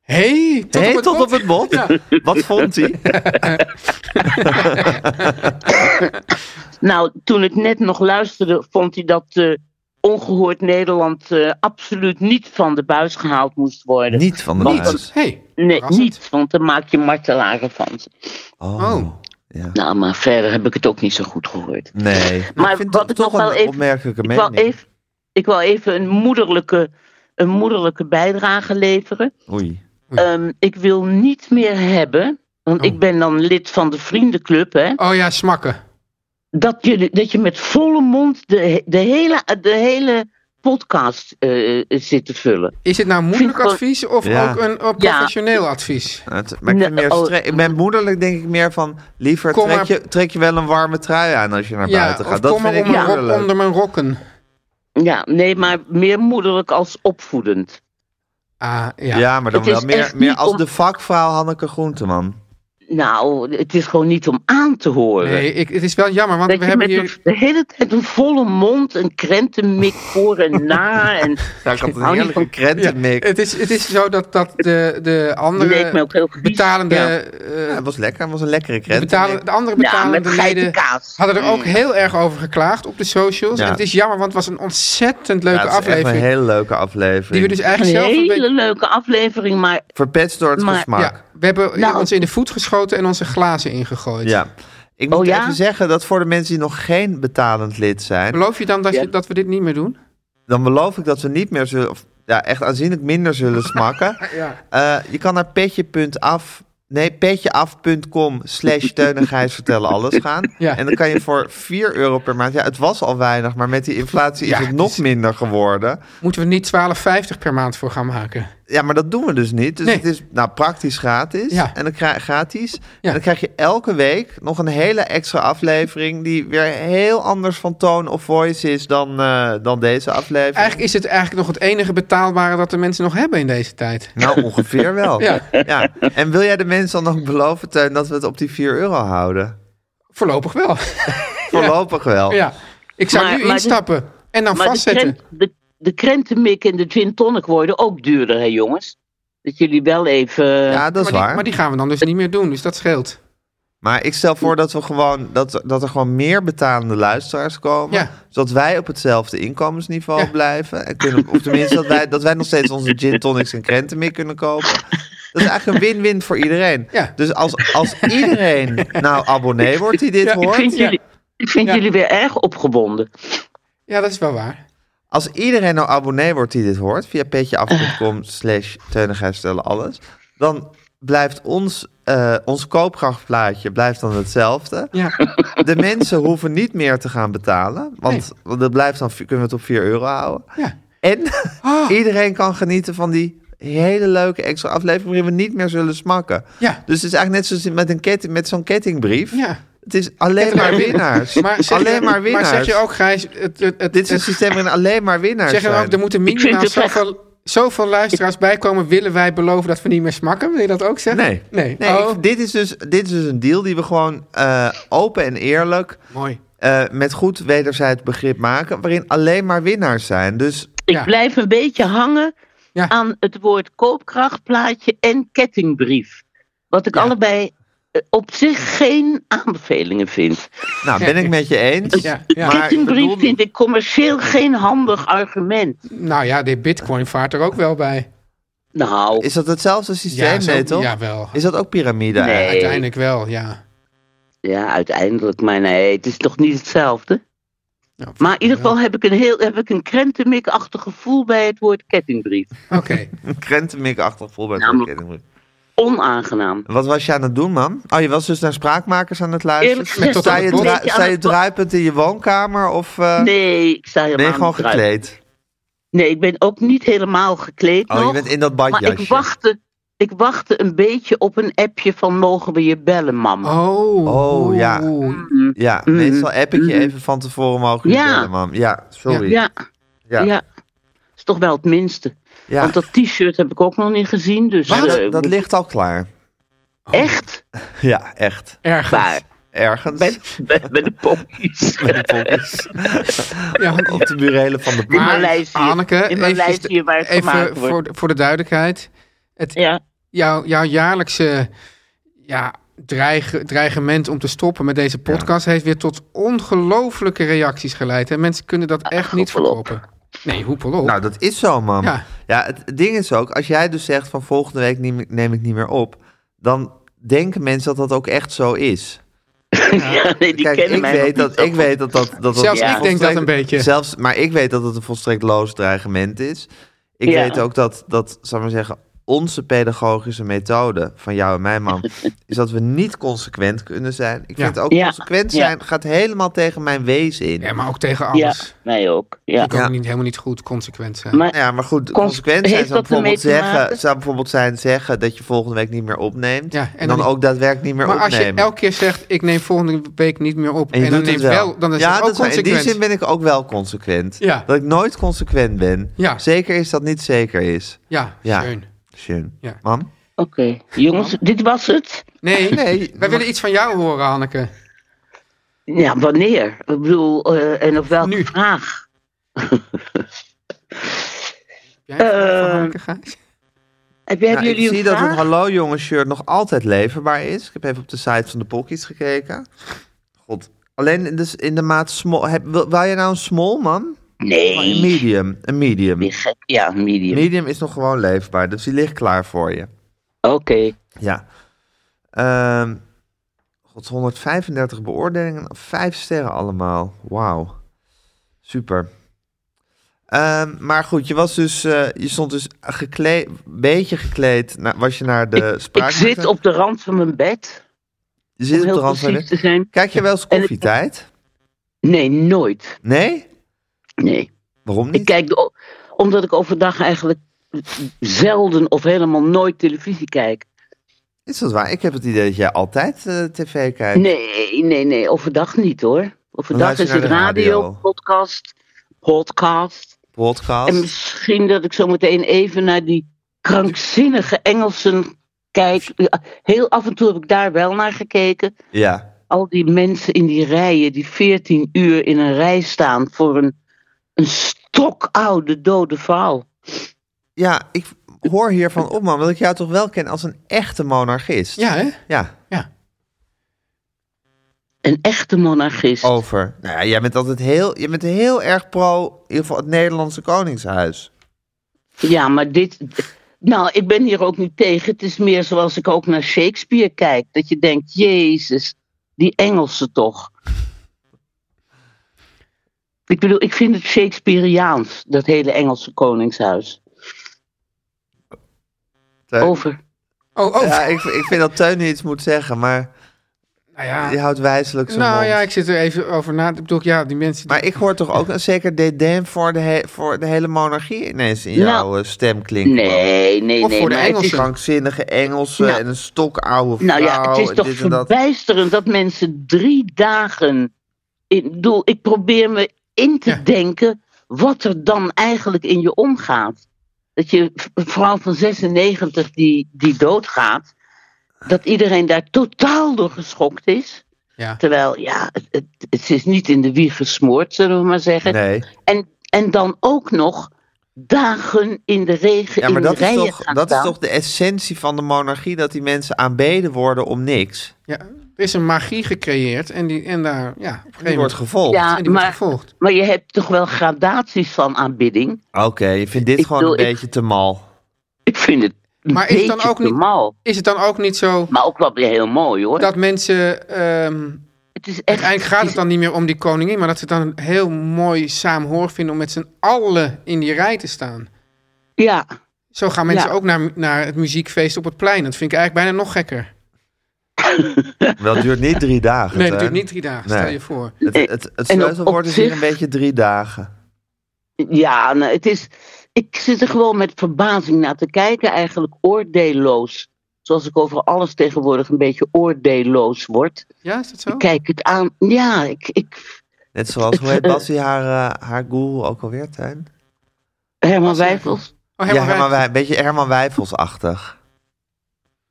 Speaker 2: Hé, hey, tot,
Speaker 1: Hey,
Speaker 2: op het
Speaker 1: tot
Speaker 2: bot.
Speaker 1: op het bot. Wat vond hij?
Speaker 6: Nou, toen ik net nog luisterde, vond hij dat eh, ongehoord Nederland eh, absoluut niet van de buis gehaald moest worden.
Speaker 1: Niet van de
Speaker 6: Niet.
Speaker 1: buis.
Speaker 2: Hey.
Speaker 6: nee,
Speaker 2: verrassend.
Speaker 6: niet, want dan maak je martelaren van ze.
Speaker 1: Oh.
Speaker 2: Oh.
Speaker 1: Ja.
Speaker 6: Nou, maar verder heb ik het ook niet zo goed gehoord.
Speaker 1: Nee.
Speaker 6: Maar
Speaker 1: ik vind
Speaker 6: wat
Speaker 1: het
Speaker 6: ik
Speaker 1: toch
Speaker 6: nog wel
Speaker 1: een
Speaker 6: even-
Speaker 1: opmerkelijke
Speaker 6: Ik wil
Speaker 1: mening.
Speaker 6: even, ik wil even een, moederlijke, een moederlijke bijdrage leveren.
Speaker 1: Oei.
Speaker 6: Ehm, ik wil niet meer hebben, want
Speaker 2: Oh.
Speaker 6: ik ben dan lid van de vriendenclub, hè,
Speaker 2: Oh ja, smakken.
Speaker 6: dat, je, dat je met volle mond de, he- de, hele, de hele podcast eh, zit te vullen.
Speaker 2: Is het nou moeilijk
Speaker 6: Vind ik
Speaker 2: advies of
Speaker 1: Ja.
Speaker 2: ook een eh, professioneel advies?
Speaker 1: Het- maar ik, vind
Speaker 6: Nee,
Speaker 1: meer
Speaker 6: oh.
Speaker 1: stre- ik ben moederlijk denk ik meer van... liever
Speaker 2: Kom
Speaker 1: trek,
Speaker 2: maar-
Speaker 1: je, trek je wel een warme trui aan als je naar
Speaker 2: Ja,
Speaker 1: buiten
Speaker 2: of
Speaker 1: gaat. Dat
Speaker 2: kom
Speaker 1: vind
Speaker 2: maar
Speaker 1: ik
Speaker 2: om mijn
Speaker 1: moederlijk.
Speaker 2: rok onder mijn rokken.
Speaker 6: Ja, nee, maar meer moederlijk als opvoedend.
Speaker 2: Ah, ja.
Speaker 1: Ja. maar dan
Speaker 6: Het is
Speaker 1: wel meer,
Speaker 6: echt
Speaker 1: meer
Speaker 6: niet
Speaker 1: als
Speaker 6: om-
Speaker 1: de vakvrouw Hanneke Groenteman.
Speaker 6: Nou, het is gewoon niet om aan te horen.
Speaker 2: Nee, ik, het is wel jammer, want
Speaker 6: Dat
Speaker 2: we
Speaker 6: je
Speaker 2: hebben
Speaker 6: met
Speaker 2: hier...
Speaker 6: een- de hele tijd een volle mond, een krentenmik voor en na. En,
Speaker 1: Ja, ik had een
Speaker 6: hou niet
Speaker 1: heerlijke
Speaker 6: van-
Speaker 1: krentenmik.
Speaker 2: Het is, het is zo dat, dat de, de
Speaker 6: Die leek
Speaker 2: andere
Speaker 6: me ook heel vies.
Speaker 2: betalende...
Speaker 6: Ja.
Speaker 1: Ja,
Speaker 2: eh,
Speaker 1: het was lekker, het was een lekkere
Speaker 2: de,
Speaker 1: krentenmik.
Speaker 2: betalende de andere
Speaker 6: Ja, met
Speaker 2: betalende leden...
Speaker 6: geitenkaas.
Speaker 2: hadden er ook heel erg over geklaagd op de socials.
Speaker 1: Mm. Ja.
Speaker 2: En het is jammer, want het was een ontzettend leuke
Speaker 1: Ja, het is echt een
Speaker 2: aflevering.
Speaker 1: hele leuke aflevering.
Speaker 2: Die we dus
Speaker 6: Een
Speaker 2: eigenlijk zelf een
Speaker 6: hele
Speaker 2: beetje...
Speaker 6: leuke aflevering, maar
Speaker 1: Verpetst door het
Speaker 6: Maar-
Speaker 1: gesmak.
Speaker 2: Ja,
Speaker 1: Ja.
Speaker 2: we hebben
Speaker 6: Nou.
Speaker 2: ons in de voet geschoten en onze glazen ingegooid.
Speaker 1: Ik moet
Speaker 6: Oh, ja?
Speaker 1: even zeggen dat voor de mensen die nog geen betalend lid zijn...
Speaker 2: Beloof je dan dat,
Speaker 6: Ja.
Speaker 2: je, dat we dit niet meer doen?
Speaker 1: dan beloof ik dat we niet meer zullen... of ja, echt aanzienlijk minder zullen smakken.
Speaker 2: Ja.
Speaker 1: Eh, je kan naar petje.af. Nee, petjeaf.com slash Teun en Gijs vertellen alles gaan.
Speaker 2: Ja.
Speaker 1: En dan kan je voor 4 euro per maand... Ja, het was al weinig, maar met die inflatie
Speaker 2: Ja,
Speaker 1: is het
Speaker 2: het
Speaker 1: nog
Speaker 2: is-
Speaker 1: minder geworden.
Speaker 2: Moeten we niet 12,50 per maand voor gaan maken?
Speaker 1: Ja, maar dat doen we dus niet. Dus
Speaker 2: Nee.
Speaker 1: het is nou, praktisch gratis.
Speaker 2: Ja.
Speaker 1: En dan krijg gratis.
Speaker 2: Ja.
Speaker 1: En dan krijg je elke week nog een hele extra aflevering... die weer heel anders van toon of voice is dan, eh, dan deze aflevering.
Speaker 2: Eigenlijk is het eigenlijk nog het enige betaalbare dat de mensen nog hebben in deze tijd.
Speaker 1: Nou, ongeveer wel.
Speaker 2: Ja.
Speaker 1: En wil jij de mensen dan ook beloven, Teun, dat we het op die 4 euro houden?
Speaker 2: Voorlopig wel.
Speaker 1: Oh. Voorlopig wel.
Speaker 2: ja. Ik zou
Speaker 6: Maar-
Speaker 2: nu
Speaker 6: maar-
Speaker 2: instappen en dan
Speaker 6: Maar de,
Speaker 2: vastzetten.
Speaker 6: krent- de, de krentenmik en de gin tonic worden ook duurder, hè jongens? Dat jullie wel even...
Speaker 1: Ja, dat is
Speaker 2: maar, die,
Speaker 1: waar.
Speaker 2: maar die gaan we dan dus niet meer doen, dus dat scheelt.
Speaker 1: Maar ik stel voor dat, we gewoon, dat, dat er gewoon meer betalende luisteraars komen.
Speaker 2: Ja.
Speaker 1: Zodat wij op hetzelfde inkomensniveau
Speaker 2: Ja.
Speaker 1: blijven. En kunnen, of tenminste, dat wij, dat wij nog steeds onze gin tonics en krenten mee kunnen kopen. Dat is eigenlijk een win-win voor iedereen.
Speaker 2: Ja.
Speaker 1: Dus als, als iedereen nou abonnee wordt die dit
Speaker 2: Ja, ik
Speaker 6: ik
Speaker 1: hoort.
Speaker 6: vind,
Speaker 2: ja.
Speaker 6: jullie, ik vind
Speaker 2: Ja.
Speaker 6: jullie weer erg opgebonden.
Speaker 2: Ja, dat is wel waar.
Speaker 1: Als iedereen nou abonnee wordt die dit hoort, via petjeaf.com slash teunigheid stellen alles, dan blijft ons, eh, ons koopkrachtplaatje blijft dan hetzelfde.
Speaker 2: Ja.
Speaker 1: De mensen hoeven niet meer te gaan betalen, want dat blijft dan, kunnen we het op 4 euro houden.
Speaker 2: Ja.
Speaker 1: En
Speaker 2: Ah.
Speaker 1: iedereen kan genieten van die hele leuke extra aflevering waarin we niet meer zullen smakken.
Speaker 2: Ja.
Speaker 1: Dus het is eigenlijk net zoals met, een ketting, met zo'n kettingbrief.
Speaker 2: ja.
Speaker 1: Het is alleen maar winnaars.
Speaker 2: Maar zeg,
Speaker 1: alleen
Speaker 2: je,
Speaker 1: maar winnaars.
Speaker 2: zeg je ook, Gijs, het, het, het,
Speaker 1: Dit is een systeem waarin alleen maar winnaars
Speaker 2: zeg je
Speaker 1: zijn.
Speaker 2: ook, er moeten
Speaker 6: vind
Speaker 2: minimaal
Speaker 6: het echt-
Speaker 2: zoveel, zoveel luisteraars bij komen. Willen wij beloven dat we niet meer smakken? Wil je dat ook zeggen?
Speaker 1: Nee.
Speaker 2: Nee.
Speaker 1: Nee,
Speaker 2: Oh.
Speaker 1: ik- dit, is dus, dit is dus een deal die we gewoon eh, open en eerlijk...
Speaker 2: Mooi.
Speaker 1: eh, met goed wederzijds begrip maken... waarin alleen maar winnaars zijn. Dus
Speaker 6: Ik
Speaker 2: Ja.
Speaker 6: blijf een beetje hangen
Speaker 2: Ja.
Speaker 6: aan het woord koopkrachtplaatje en kettingbrief. Wat ik allebei eh, op zich geen aanbevelingen vind.
Speaker 1: nou, ben ik met je eens.
Speaker 2: Ja, ja.
Speaker 1: Maar
Speaker 6: kettingbrief
Speaker 1: bedoel-
Speaker 6: vind ik commercieel geen handig argument.
Speaker 2: Nou ja, de bitcoin vaart er ook wel bij.
Speaker 6: Nou,
Speaker 1: Is dat hetzelfde systeem?
Speaker 2: ja, zo-
Speaker 1: nee, toch?
Speaker 2: Jawel.
Speaker 1: Is dat ook piramide
Speaker 6: Nee.
Speaker 1: eigenlijk?
Speaker 2: Uiteindelijk wel, ja.
Speaker 6: ja, uiteindelijk, maar nee, het is toch niet hetzelfde?
Speaker 2: Nou,
Speaker 6: Maar in ieder
Speaker 2: wel.
Speaker 6: geval heb ik een heel heb ik een krentenmikachtig gevoel bij het woord kettingbrief.
Speaker 2: Oké.
Speaker 1: Een krentenmikachtig voorbeeld.
Speaker 6: Namelijk- Onaangenaam.
Speaker 1: Wat was je aan het doen, man? Oh, je was dus naar spraakmakers aan het luisteren?
Speaker 6: Eerlijk gezegd-
Speaker 1: sta je,
Speaker 2: Tot aan het
Speaker 1: dru-
Speaker 6: bot.
Speaker 1: sta je druipend in je woonkamer of eh,
Speaker 6: Nee, ik sta helemaal
Speaker 1: ben je gewoon
Speaker 6: niet eruit.
Speaker 1: gekleed?
Speaker 6: Nee, ik ben ook niet helemaal gekleed
Speaker 1: Oh,
Speaker 6: nog.
Speaker 1: je bent in dat
Speaker 6: maar
Speaker 1: badjasje.
Speaker 6: ik wachtte, ik wachtte een beetje op een appje van mogen we je bellen, mam.
Speaker 2: Oh.
Speaker 1: Oh, ja.
Speaker 2: oeh.
Speaker 1: Ja,
Speaker 6: Mhm.
Speaker 1: meestal app ik je
Speaker 6: Mhm.
Speaker 1: even van tevoren mogen
Speaker 6: Ja.
Speaker 1: bellen, mam. Ja, sorry.
Speaker 6: ja,
Speaker 1: Ja.
Speaker 6: ja, Is toch wel het minste.
Speaker 1: Ja.
Speaker 6: Want dat t-shirt heb ik ook nog niet gezien. Dus
Speaker 1: Maar
Speaker 6: eh,
Speaker 1: dat, dat ligt al klaar.
Speaker 6: echt
Speaker 1: Ja, echt.
Speaker 2: Ergens.
Speaker 6: waar.
Speaker 1: Ergens.
Speaker 6: Bij, bij, bij de poppies.
Speaker 2: Ja, want-
Speaker 1: Op de burelen van de
Speaker 6: In
Speaker 1: paard.
Speaker 6: Maleisië.
Speaker 2: Anneke,
Speaker 6: in
Speaker 2: even-
Speaker 6: Maleisië waar het
Speaker 2: Even
Speaker 6: gemaakt wordt.
Speaker 2: voor de, voor de duidelijkheid. Het,
Speaker 6: Ja.
Speaker 2: jouw, jouw jaarlijkse ja, dreig, dreigement om te stoppen met deze podcast heeft weer tot ongelofelijke reacties geleid. En mensen kunnen dat echt niet
Speaker 6: Ah, hoepel op.
Speaker 2: verkopen. Nee, hoepel op.
Speaker 1: Nou, dat is zo, man. Ja,
Speaker 2: Ja.
Speaker 1: het, het ding is ook, als jij dus zegt van volgende week neem, ik- neem ik niet meer op, dan denken mensen dat dat ook echt zo is.
Speaker 6: ja, nee, die
Speaker 1: Kijk,
Speaker 6: kennen
Speaker 1: ik
Speaker 6: mij nog
Speaker 1: weet,
Speaker 6: niet
Speaker 1: dat,
Speaker 6: zo
Speaker 1: ik
Speaker 6: goed.
Speaker 1: weet dat dat... dat, dat
Speaker 2: Zelfs
Speaker 6: ik
Speaker 1: volstrekt-
Speaker 2: denk dat een beetje.
Speaker 1: Zelfs, maar ik weet dat het een volstrekt loos dreigement is. Ik
Speaker 6: Ja.
Speaker 1: weet ook dat, dat, zal ik maar zeggen, onze pedagogische methode van jou en mijn man, is dat we niet consequent kunnen zijn. Ik
Speaker 2: Ja.
Speaker 1: vind ook
Speaker 6: Ja.
Speaker 1: consequent
Speaker 6: Ja.
Speaker 1: zijn gaat helemaal tegen mijn wezen in.
Speaker 2: ja, maar ook tegen
Speaker 6: Ja,
Speaker 2: alles.
Speaker 6: mij ook.
Speaker 2: Je
Speaker 6: Ja.
Speaker 2: kan
Speaker 1: Ja.
Speaker 2: niet, helemaal niet goed consequent zijn.
Speaker 6: Maar
Speaker 1: Nou ja, maar goed,
Speaker 6: Cons-
Speaker 1: consequent
Speaker 6: heeft
Speaker 1: zijn zou
Speaker 6: dat ermee
Speaker 1: bijvoorbeeld,
Speaker 6: te maken?
Speaker 1: zeggen, zou bijvoorbeeld zijn zeggen dat je volgende week niet meer opneemt.
Speaker 2: Ja,
Speaker 1: en,
Speaker 2: en
Speaker 1: dan,
Speaker 2: dan-
Speaker 1: ook daadwerkelijk niet meer
Speaker 2: maar als je
Speaker 1: opnemen.
Speaker 2: elke keer zegt, ik neem volgende week niet meer op. En,
Speaker 1: je
Speaker 2: dan
Speaker 1: doet
Speaker 2: neem
Speaker 1: het
Speaker 2: wel. dan is
Speaker 1: ja,
Speaker 2: dat ook
Speaker 1: waar. In die
Speaker 2: consequent.
Speaker 1: zin ben ik ook wel consequent.
Speaker 2: Ja.
Speaker 1: Dat ik nooit consequent ben.
Speaker 2: Ja.
Speaker 1: Zeker is dat niet zeker is.
Speaker 2: Ja,
Speaker 1: Ja.
Speaker 2: schön.
Speaker 1: Schön.
Speaker 2: Ja.
Speaker 1: Mam?
Speaker 6: Oké, jongens, dit was het.
Speaker 2: Nee,
Speaker 1: Nee, maar-
Speaker 2: wij willen iets van jou horen, Hanneke.
Speaker 6: Ja, wanneer? Ik bedoel, eh, en op welke
Speaker 2: Nu.
Speaker 6: vraag?
Speaker 2: Jij hebt
Speaker 6: Eh,
Speaker 2: van Hanneke, Gijs?
Speaker 6: Heb jij
Speaker 1: Nou, ik
Speaker 6: jullie een
Speaker 1: zie dat het
Speaker 6: vraag?
Speaker 1: Hallo Jongen shirt nog altijd leverbaar is. Ik heb even op de site van de Pokkies gekeken. God. Alleen in de, in de maat small. Heb, wil, wil je nou een small, man? Oh, Een
Speaker 6: Nee.
Speaker 1: medium. Een medium.
Speaker 6: Je gek. Ja, medium.
Speaker 1: Medium is nog gewoon leefbaar, dus die ligt klaar voor je.
Speaker 6: Oké.
Speaker 1: Ja. Ehm God, 135 beoordelingen, 5 sterren allemaal. Wauw. Super. Eh, Ehm, maar goed, je was dus, eh, je stond dus gekleed, beetje gekleed, na- was je naar de
Speaker 6: Ik
Speaker 1: spraak.
Speaker 6: zit op de rand van mijn bed.
Speaker 1: je zit
Speaker 6: om
Speaker 1: op de
Speaker 6: heel
Speaker 1: rand van
Speaker 6: precies
Speaker 1: de-
Speaker 6: te zijn.
Speaker 1: Kijk je wel eens
Speaker 6: En ik-
Speaker 1: koffietijd?
Speaker 6: Nee, nooit.
Speaker 1: Nee?
Speaker 6: Nee.
Speaker 1: Waarom
Speaker 6: Ik
Speaker 1: niet?
Speaker 6: kijk, o- omdat ik overdag eigenlijk zelden of helemaal nooit televisie kijk.
Speaker 1: Is dat waar? Ik heb het idee dat jij altijd eh, tv kijkt.
Speaker 6: Nee, nee, nee, overdag niet hoor. Overdag
Speaker 1: luister
Speaker 6: is
Speaker 1: je
Speaker 6: het
Speaker 1: naar de radio.
Speaker 6: radio, podcast, podcast.
Speaker 1: Podcast.
Speaker 6: En misschien dat ik zo meteen even naar die krankzinnige Engelsen kijk. Ja, Heel af en toe heb ik daar wel naar gekeken.
Speaker 1: Ja.
Speaker 6: Al die mensen in die rijen, die 14 uur in een rij staan voor een, een stokoude dode vrouw.
Speaker 1: ja, ik hoor hiervan op, man, want ik jou toch wel ken als een echte monarchist.
Speaker 2: Ja, hè?
Speaker 1: Ja,
Speaker 2: Ja.
Speaker 6: Een echte monarchist.
Speaker 1: over. Nou ja, jij bent altijd heel, je bent heel erg pro, in ieder geval het Nederlandse Koningshuis.
Speaker 6: Ja, maar dit. Nou, ik ben hier ook niet tegen. Het is meer zoals ik ook naar Shakespeare kijk. Dat je denkt, Jezus, die Engelsen toch. Ik bedoel, ik vind het Shakespeareaans, dat hele Engelse koningshuis.
Speaker 1: Teun-
Speaker 6: Over.
Speaker 2: Oh, oh.
Speaker 1: Ja, ik, ik vind dat Teun nu iets moet zeggen, maar
Speaker 2: nou ja.
Speaker 1: die houdt wijselijk zijn
Speaker 2: Nou
Speaker 1: mond.
Speaker 2: ja, ik zit er even over na. Ik bedoel, ja, die mensen... die-
Speaker 1: Maar ik hoor toch ook een zeker dédain voor de, he- voor de hele monarchie ineens in
Speaker 6: Nou.
Speaker 1: jouw eh, stem klinken.
Speaker 6: Nee, nee,
Speaker 2: Of
Speaker 6: nee.
Speaker 2: voor de
Speaker 6: maar het is-
Speaker 2: Engelsen.
Speaker 1: Krankzinnige Engelsen
Speaker 6: Nou.
Speaker 1: en een stokoude vrouw.
Speaker 6: Nou ja, het is
Speaker 1: en
Speaker 6: toch
Speaker 1: dit en dat.
Speaker 6: verbijsterend dat mensen drie dagen. Ik bedoel, ik probeer me in te
Speaker 2: Ja.
Speaker 6: denken wat er dan eigenlijk in je omgaat. Dat je v- een vrouw van 96 die, die doodgaat, dat iedereen daar totaal door geschokt is.
Speaker 2: Ja.
Speaker 6: Terwijl, ja, het, het, het is niet in de wieg gesmoord, zullen we maar zeggen.
Speaker 1: Nee.
Speaker 6: En, en dan ook nog dagen in de regen
Speaker 1: Ja,
Speaker 6: in
Speaker 1: maar
Speaker 6: de
Speaker 1: dat, is
Speaker 6: rijen
Speaker 1: toch,
Speaker 6: gaan
Speaker 1: dat is
Speaker 6: staan.
Speaker 1: toch de essentie van de monarchie, dat die mensen aanbeden worden om niks.
Speaker 2: Ja, er is een magie gecreëerd en, die, en daar, ja, op een gegeven
Speaker 1: Die wordt
Speaker 2: moment...
Speaker 1: gevolgd.
Speaker 6: Ja,
Speaker 2: en die wordt
Speaker 6: maar-
Speaker 2: gevolgd.
Speaker 6: Maar je hebt toch wel gradaties van aanbidding.
Speaker 1: Oké, je vindt dit
Speaker 6: Ik
Speaker 1: gewoon
Speaker 6: bedoel,
Speaker 1: een
Speaker 6: ik-
Speaker 1: beetje te mal.
Speaker 6: Ik vind het een
Speaker 2: Maar is het
Speaker 6: beetje
Speaker 2: dan ook
Speaker 6: te
Speaker 2: niet-
Speaker 6: mal.
Speaker 2: Is het dan ook niet zo
Speaker 6: Maar ook wel weer heel mooi hoor.
Speaker 2: dat mensen... ehm,
Speaker 6: het is echt,
Speaker 2: uiteindelijk gaat het dan niet meer om die koningin... maar dat ze het dan heel mooi saamhoor vinden... om met z'n allen in die rij te staan.
Speaker 6: Ja,
Speaker 2: Zo gaan mensen
Speaker 6: Ja.
Speaker 2: ook naar, naar het muziekfeest op het plein. Dat vind ik eigenlijk bijna nog gekker.
Speaker 1: Wel, het duurt niet drie dagen.
Speaker 2: Nee, dat
Speaker 1: Teun.
Speaker 2: duurt niet drie dagen,
Speaker 1: Nee.
Speaker 2: stel je voor.
Speaker 1: Het, het, het,
Speaker 6: En op-
Speaker 1: sleutelwoord
Speaker 6: op
Speaker 1: is hier
Speaker 6: zich-
Speaker 1: een beetje drie dagen.
Speaker 6: ja nou, het is, ik zit er gewoon met verbazing naar te kijken. Eigenlijk oordeelloos. Zoals ik over alles tegenwoordig een beetje oordeelloos word.
Speaker 2: Ja, is dat zo?
Speaker 6: Ik kijk het aan. Ja, ik, ik,
Speaker 1: Net zoals, hoe heet
Speaker 6: eh,
Speaker 1: Bassie haar, eh, haar guru ook alweer, Tuin?
Speaker 6: Herman Wijfels.
Speaker 2: Oh,
Speaker 1: Ja,
Speaker 2: helemaal
Speaker 1: Herman Wij, een beetje Herman Wijfels-achtig.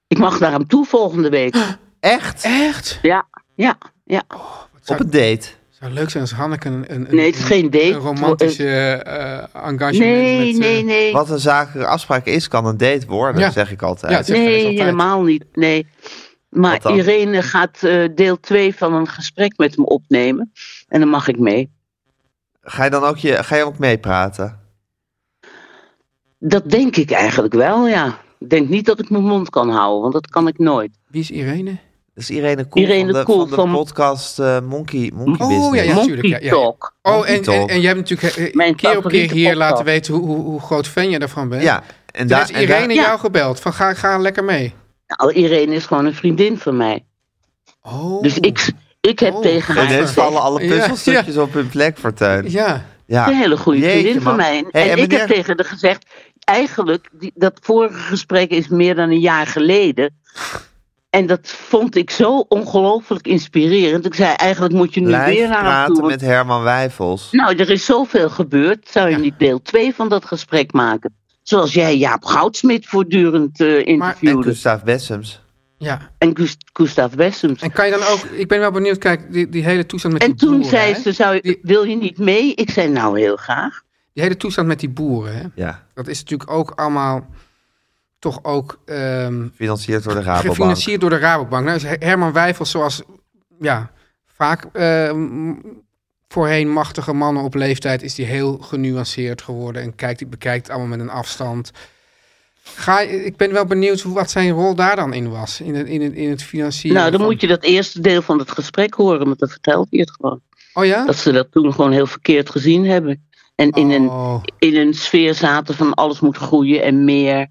Speaker 6: Ik mag naar hem toe volgende
Speaker 2: Ah.
Speaker 6: week.
Speaker 1: Echt?
Speaker 2: Echt?
Speaker 6: Ja, ja, ja.
Speaker 1: Op een date.
Speaker 2: zou leuk zijn als Hanneke een, een, een-
Speaker 6: Nee, het is
Speaker 2: een-
Speaker 6: geen date.
Speaker 2: een romantische eh, eh, engagement
Speaker 6: Nee,
Speaker 2: met... eh,
Speaker 6: nee, nee.
Speaker 1: Wat een zakelijke afspraak is, kan een date worden,
Speaker 2: Ja.
Speaker 1: zeg ik altijd.
Speaker 2: Ja, het is echt- is
Speaker 6: Nee,
Speaker 2: altijd-
Speaker 6: helemaal niet. Nee. Maar
Speaker 1: Wat dan?
Speaker 6: Irene gaat eh, deel 2 van een gesprek met hem opnemen. En dan mag ik mee.
Speaker 1: Ga je dan ook, je, ga je ook meepraten?
Speaker 6: Dat denk ik eigenlijk wel, ja. Ik denk niet dat ik mijn mond kan houden, want dat kan ik nooit.
Speaker 2: Wie is Irene?
Speaker 1: Dat is Irene Koel
Speaker 6: Irene
Speaker 1: van de,
Speaker 6: Koel
Speaker 1: van de
Speaker 6: van-
Speaker 1: podcast eh, Monkey, Monkey
Speaker 2: Oh,
Speaker 1: Business.
Speaker 2: ja,
Speaker 6: Monkey
Speaker 2: tuurlijk, ja, ja.
Speaker 6: Talk.
Speaker 2: Oh,
Speaker 1: Monkey
Speaker 2: en, en,
Speaker 1: Talk.
Speaker 2: en jij hebt natuurlijk eh,
Speaker 6: Mijn
Speaker 2: keer op keer
Speaker 6: favoriete
Speaker 2: hier
Speaker 6: podcast.
Speaker 2: laten weten hoe, hoe, hoe groot fan je daarvan bent.
Speaker 1: Ja, en
Speaker 2: Toen
Speaker 1: daar...
Speaker 2: heeft
Speaker 1: en daar-
Speaker 2: Irene
Speaker 6: daar-
Speaker 2: jou gebeld van ga, ga lekker mee.
Speaker 6: Nou, Irene is gewoon een vriendin van mij.
Speaker 2: Oh.
Speaker 6: Dus ik, ik heb
Speaker 2: Oh.
Speaker 6: tegen haar
Speaker 1: Ineens
Speaker 6: gezegd,
Speaker 1: vallen alle
Speaker 2: Ja,
Speaker 1: puzzelstukjes op hun plek, Fortuin.
Speaker 2: Ja.
Speaker 1: Ja.
Speaker 6: een hele goede
Speaker 1: Ah, Jeetje,
Speaker 6: vriendin van
Speaker 1: man.
Speaker 6: mij. En,
Speaker 1: Hey,
Speaker 6: en
Speaker 1: en
Speaker 6: ik heb
Speaker 1: wanneer-
Speaker 6: tegen haar gezegd, eigenlijk, die, dat vorige gesprek is meer dan een jaar geleden. En dat vond ik zo ongelooflijk inspirerend. Ik zei, eigenlijk moet je nu weer
Speaker 1: Blijf
Speaker 6: naar haar toe.
Speaker 1: praten
Speaker 6: want-
Speaker 1: met Herman Wijfels.
Speaker 6: Nou, er is zoveel gebeurd. Zou je niet deel 2 van dat gesprek maken? Zoals jij Jaap Goudsmit voortdurend eh
Speaker 1: En
Speaker 6: interviewde. en,
Speaker 1: Gustav Bessems.
Speaker 2: ja.
Speaker 6: Gust- Gustav Wessems.
Speaker 2: En kan je dan ook, ik ben wel benieuwd, kijk, die, die hele toestand met
Speaker 6: En
Speaker 2: die
Speaker 6: toen
Speaker 2: boeren.
Speaker 6: zei
Speaker 2: hè?
Speaker 6: ze, zou je,
Speaker 2: Die-
Speaker 6: wil je niet mee? Ik zei, nou heel graag.
Speaker 2: Die hele toestand met die boeren, hè?
Speaker 1: Ja,
Speaker 2: dat is natuurlijk ook allemaal toch ook ehm,
Speaker 1: gefinancierd door de Rabobank.
Speaker 2: gefinancierd door de Rabobank. Nou is Herman Wijfels, zoals ja, vaak ehm, voorheen machtige mannen op leeftijd, is die heel genuanceerd geworden en kijkt, die bekijkt het allemaal met een afstand. Ga, ik ben wel benieuwd hoe- wat zijn rol daar dan in was, in het, in het, in het financieren.
Speaker 6: nou, dan
Speaker 2: van-
Speaker 6: moet je dat eerste deel van het gesprek horen, want dan vertelt hij het gewoon.
Speaker 2: Oh ja?
Speaker 6: Dat ze dat toen gewoon heel verkeerd gezien hebben. En in, een,
Speaker 2: Oh.
Speaker 6: in een sfeer zaten van alles moet groeien en meer.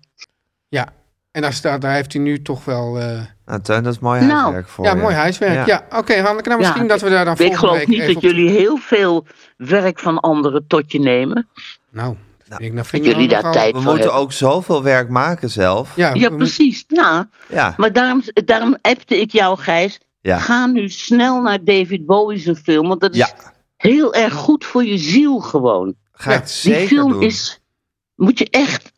Speaker 2: Ja, en daar, staat, daar heeft hij nu toch wel... eh,
Speaker 1: Nou, Teun, dat is mooi
Speaker 6: Nou.
Speaker 1: huiswerk voor
Speaker 2: ja,
Speaker 1: je.
Speaker 2: mooi huiswerk. Ja, oké Hanneke, nou
Speaker 6: Ja,
Speaker 2: misschien dat we daar dan
Speaker 6: Ik
Speaker 2: volgende
Speaker 6: geloof
Speaker 2: week
Speaker 6: niet
Speaker 2: even
Speaker 6: dat
Speaker 2: op-
Speaker 6: jullie heel veel werk van anderen tot je nemen.
Speaker 2: Nou, dat vind ik, dat vind
Speaker 6: Dat
Speaker 2: ik wel
Speaker 6: jullie daar
Speaker 2: nogal-
Speaker 6: tijd
Speaker 1: We
Speaker 6: voor
Speaker 1: moeten
Speaker 6: hebben.
Speaker 1: ook zoveel werk maken zelf.
Speaker 2: Ja,
Speaker 6: Ja,
Speaker 2: we-
Speaker 6: precies. Ja,
Speaker 1: Ja.
Speaker 6: maar daarom, daarom appte ik jou, Gijs.
Speaker 1: Ja.
Speaker 6: Ga nu snel naar David Bowie's film, want dat is
Speaker 1: Ja.
Speaker 6: heel erg goed voor je ziel gewoon.
Speaker 1: Ga
Speaker 2: Ja,
Speaker 1: ik
Speaker 6: Die
Speaker 1: zeker
Speaker 6: film
Speaker 1: doen.
Speaker 6: is, moet je echt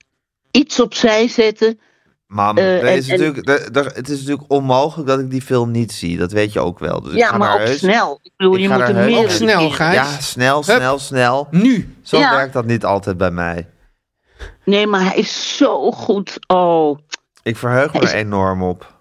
Speaker 6: iets opzij zetten.
Speaker 1: Mam,
Speaker 6: eh,
Speaker 1: er
Speaker 6: en-
Speaker 1: is
Speaker 6: en-
Speaker 1: natuurlijk, er- er- het is natuurlijk onmogelijk dat ik die film niet zie. Dat weet je ook wel. Dus ik
Speaker 6: Ja,
Speaker 1: ga
Speaker 6: maar
Speaker 1: daar
Speaker 6: ook
Speaker 1: heus-
Speaker 6: snel. Ik bedoel,
Speaker 1: Ik
Speaker 6: je
Speaker 1: ga
Speaker 6: moet
Speaker 1: daar
Speaker 6: er
Speaker 1: heus-
Speaker 6: meer
Speaker 2: Ook snel, Gijs.
Speaker 1: Ja, snel,
Speaker 2: Hup.
Speaker 1: snel, snel.
Speaker 2: Nu.
Speaker 1: Zo
Speaker 6: Ja.
Speaker 1: werkt dat niet altijd bij mij.
Speaker 6: Nee, maar hij is zo goed. Oh,
Speaker 1: Ik verheug me
Speaker 6: Is-
Speaker 1: er enorm op.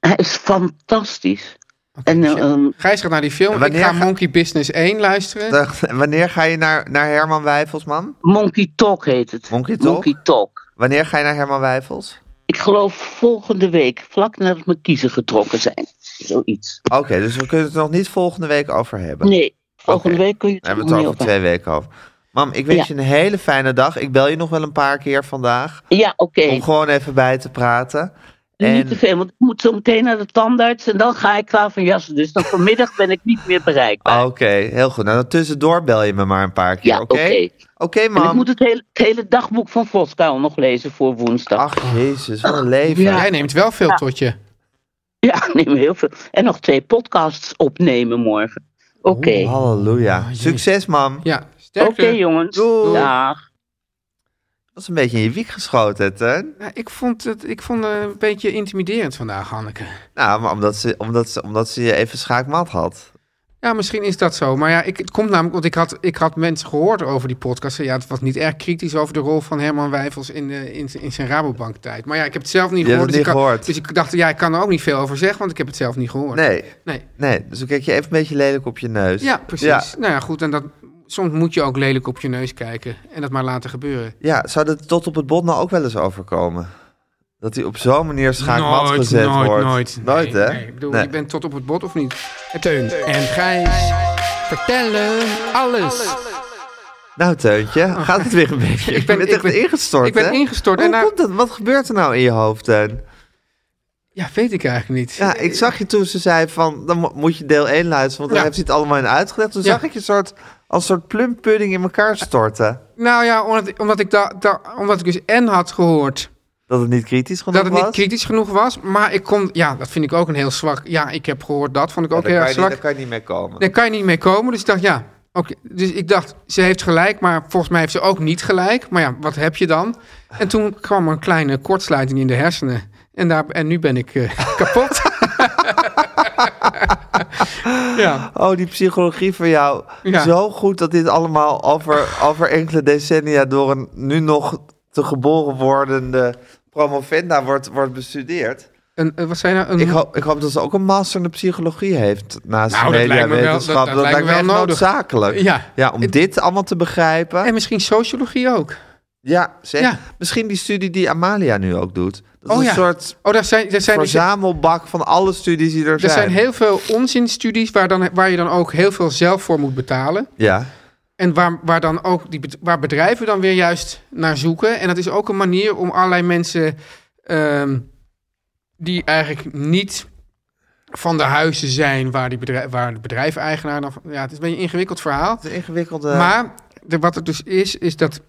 Speaker 6: hij is fantastisch. En eh, ehm,
Speaker 2: Gijs gaat naar die film. Ik
Speaker 1: Wanneer
Speaker 2: ga
Speaker 1: ga-
Speaker 2: Monkey Business 1 luisteren.
Speaker 1: Dag, en wanneer ga je naar, naar Herman Wijfels, man?
Speaker 6: Monkey Talk heet het.
Speaker 1: Monkey Talk?
Speaker 6: Talk.
Speaker 1: Wanneer ga je naar Herman Wijfels?
Speaker 6: Ik geloof volgende week, vlak nadat mijn kiezen getrokken zijn. Zoiets.
Speaker 1: Oké, dus we kunnen het er nog niet volgende week over hebben.
Speaker 6: Nee, volgende
Speaker 1: Oké.
Speaker 6: week kun je het
Speaker 1: Daar hebben
Speaker 6: er
Speaker 1: we het
Speaker 6: niet
Speaker 1: over
Speaker 6: over.
Speaker 1: twee weken over. Mam, ik wens
Speaker 6: Ja.
Speaker 1: je een hele fijne dag. Ik bel je nog wel een paar keer vandaag.
Speaker 6: Ja, oké.
Speaker 1: Om gewoon even bij te praten.
Speaker 6: Niet te
Speaker 1: En
Speaker 6: veel, want ik moet zo meteen naar de tandarts en dan ga ik klaar van jassen. Dus dan vanmiddag ben ik niet meer bereikbaar.
Speaker 1: Oké, heel goed. Nou, dan tussendoor bel je me maar een paar keer,
Speaker 6: Ja,
Speaker 1: Oh, oké?
Speaker 6: oké.
Speaker 1: Oké,
Speaker 6: en ik
Speaker 1: mam.
Speaker 6: moet het hele, het hele dagboek van Voskuil nog lezen voor woensdag.
Speaker 1: Ach, jezus, wat een leven.
Speaker 6: Ja.
Speaker 2: Jij neemt wel veel tot je.
Speaker 6: Ja, ik neem heel veel. En nog twee podcasts opnemen morgen. Oké. Oké,
Speaker 1: Halleluja.
Speaker 2: jee.
Speaker 1: Succes, mam.
Speaker 2: Ja, sterkte.
Speaker 6: jongens.
Speaker 1: Doei.
Speaker 6: Dag.
Speaker 1: Dat is een beetje in je wiek geschoten, hè, Teun.
Speaker 2: Nou, ik vond het ik vond het een beetje intimiderend vandaag, Hanneke.
Speaker 1: Nou, maar omdat ze, omdat ze, omdat ze je even schaakmat had.
Speaker 2: Ja, misschien is dat zo. Maar ja, ik, het komt namelijk, want ik had, ik had mensen gehoord over die podcast. Ja, het was niet erg kritisch over de rol van Herman Wijfels in, de, in, in zijn Rabobank-tijd. Maar ja, ik heb het zelf niet
Speaker 1: Je hebt het
Speaker 2: gehoord. dus
Speaker 1: niet
Speaker 2: ik kan-
Speaker 1: gehoord.
Speaker 2: dus ik dacht, ja, ik kan er ook niet veel over zeggen, want ik heb het zelf niet gehoord.
Speaker 1: Nee,
Speaker 2: Nee.
Speaker 1: nee. Dus dan kijk je even een beetje lelijk op je neus.
Speaker 2: Ja, precies.
Speaker 1: Ja,
Speaker 2: Nou ja, goed. En dat, soms moet je ook lelijk op je neus kijken en dat maar laten gebeuren.
Speaker 1: Ja, zou dat tot op het bot nou ook wel eens overkomen? Dat hij op zo'n manier schaakmat
Speaker 2: nooit,
Speaker 1: gezet
Speaker 2: nooit,
Speaker 1: wordt.
Speaker 2: Nooit,
Speaker 1: Nooit,
Speaker 2: Nee,
Speaker 1: hè?
Speaker 2: nee. Ik bedoel,
Speaker 1: Nee.
Speaker 2: je bent tot op het bot of niet? Teun en Gijs vertellen alles.
Speaker 1: Nou, Teuntje, gaat het weer een beetje? Ik
Speaker 2: ben-
Speaker 1: ben, je bent
Speaker 2: ik
Speaker 1: echt
Speaker 2: ben-
Speaker 1: ingestort,
Speaker 2: ik ben
Speaker 1: hè?
Speaker 2: ingestort
Speaker 1: Hoe
Speaker 2: en nou-
Speaker 1: komt dat? Wat gebeurt er nou in je hoofd, Teun?
Speaker 2: Ja, weet ik eigenlijk niet.
Speaker 1: Ja, ik zag je toen ze zei van, dan mo- moet je deel 1 luisteren, want dan
Speaker 2: Ja.
Speaker 1: heeft hij het allemaal in uitgelegd. Toen
Speaker 2: Ja.
Speaker 1: zag ik je soort, als soort plumpudding in elkaar storten.
Speaker 2: Nou ja, omdat, omdat, ik da, da- omdat ik dus en had gehoord
Speaker 1: Dat het niet kritisch genoeg
Speaker 2: dat het
Speaker 1: was.
Speaker 2: niet kritisch genoeg was. Maar ik kon, ja, dat vind ik ook een heel zwak. Ja, ik heb gehoord dat, vond ik ook
Speaker 1: Ja, daar
Speaker 2: heel
Speaker 1: kan
Speaker 2: erg
Speaker 1: je niet-
Speaker 2: zwak.
Speaker 1: Daar kan je niet mee komen.
Speaker 2: Daar kan je niet mee komen. Dus ik dacht, ja. oké. Dus ik dacht, ze heeft gelijk, maar volgens mij heeft ze ook niet gelijk. Maar ja, wat heb je dan? En toen kwam er een kleine kortsluiting in de hersenen. En, daar, en nu ben ik eh, kapot. ja.
Speaker 1: Oh, die psychologie van jou.
Speaker 2: Ja.
Speaker 1: Zo goed dat dit allemaal over, over enkele decennia door een nu nog te geboren wordende promovenda wordt, wordt bestudeerd.
Speaker 2: En, eh, wat zijn nou? Een,
Speaker 1: Ik hoop, ik hoop dat ze ook een master in de psychologie heeft naast
Speaker 2: Nou,
Speaker 1: de
Speaker 2: dat lijkt me wel-
Speaker 1: mediawetenschap.
Speaker 2: dat- dat lijkt me wel
Speaker 1: echt
Speaker 2: nodig.
Speaker 1: noodzakelijk.
Speaker 2: Ja.
Speaker 1: om dit allemaal te begrijpen.
Speaker 2: en misschien sociologie ook.
Speaker 1: ja, zeg.
Speaker 2: Ja.
Speaker 1: Misschien die studie die Amalia nu ook doet. Dat is
Speaker 2: Oh
Speaker 1: een
Speaker 2: ja.
Speaker 1: soort
Speaker 2: Oh, daar zijn, daar zijn,
Speaker 1: verzamelbak van alle studies die er,
Speaker 2: er
Speaker 1: zijn.
Speaker 2: zijn heel veel onzinstudies waar, dan, waar je dan ook heel veel zelf voor moet betalen.
Speaker 1: Ja.
Speaker 2: En waar, waar dan ook die, bed- waar bedrijven dan weer juist naar zoeken. En dat is ook een manier om allerlei mensen ehm, die eigenlijk niet van de huizen zijn waar, die bedrijf, waar de bedrijfeigenaar dan van. Ja, het is een beetje een ingewikkeld verhaal.
Speaker 1: Het is een ingewikkelde...
Speaker 2: Maar de, wat het dus is, is dat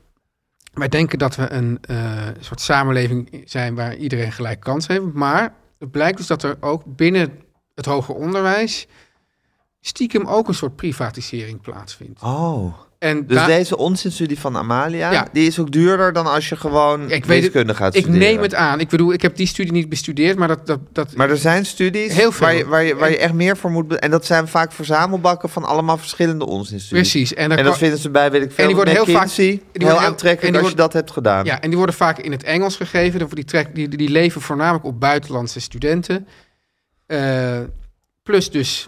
Speaker 2: wij denken dat we een eh, soort samenleving zijn waar iedereen gelijk kans heeft. Maar het blijkt dus dat er ook binnen het hoger onderwijs stiekem ook een soort privatisering plaatsvindt.
Speaker 1: Oh.
Speaker 2: En
Speaker 1: Dus
Speaker 2: daar-
Speaker 1: deze onzinstudie van Amalia,
Speaker 2: Ja,
Speaker 1: die is ook duurder dan als je gewoon
Speaker 2: ik weet het,
Speaker 1: wiskunde gaat
Speaker 2: ik
Speaker 1: studeren.
Speaker 2: neem het aan. Ik bedoel, ik heb die studie niet bestudeerd, maar dat... dat, dat
Speaker 1: Maar er zijn studies
Speaker 2: Heel veel.
Speaker 1: Waar, je, waar, je, waar je echt meer voor moet... be- En dat zijn vaak verzamelbakken van allemaal verschillende onzinstudies.
Speaker 2: precies. En, daar
Speaker 1: En dat
Speaker 2: kwam-
Speaker 1: vinden ze bij, weet ik veel,
Speaker 2: en die worden heel vaak-
Speaker 1: McKinsey,
Speaker 2: die worden
Speaker 1: heel
Speaker 2: heel-
Speaker 1: aantrekkelijk
Speaker 2: en die
Speaker 1: als je dat hebt gedaan.
Speaker 2: ja, en die worden vaak in het Engels gegeven. Dan voor Die, trek, die, die leven voornamelijk op buitenlandse studenten. Eh, plus dus,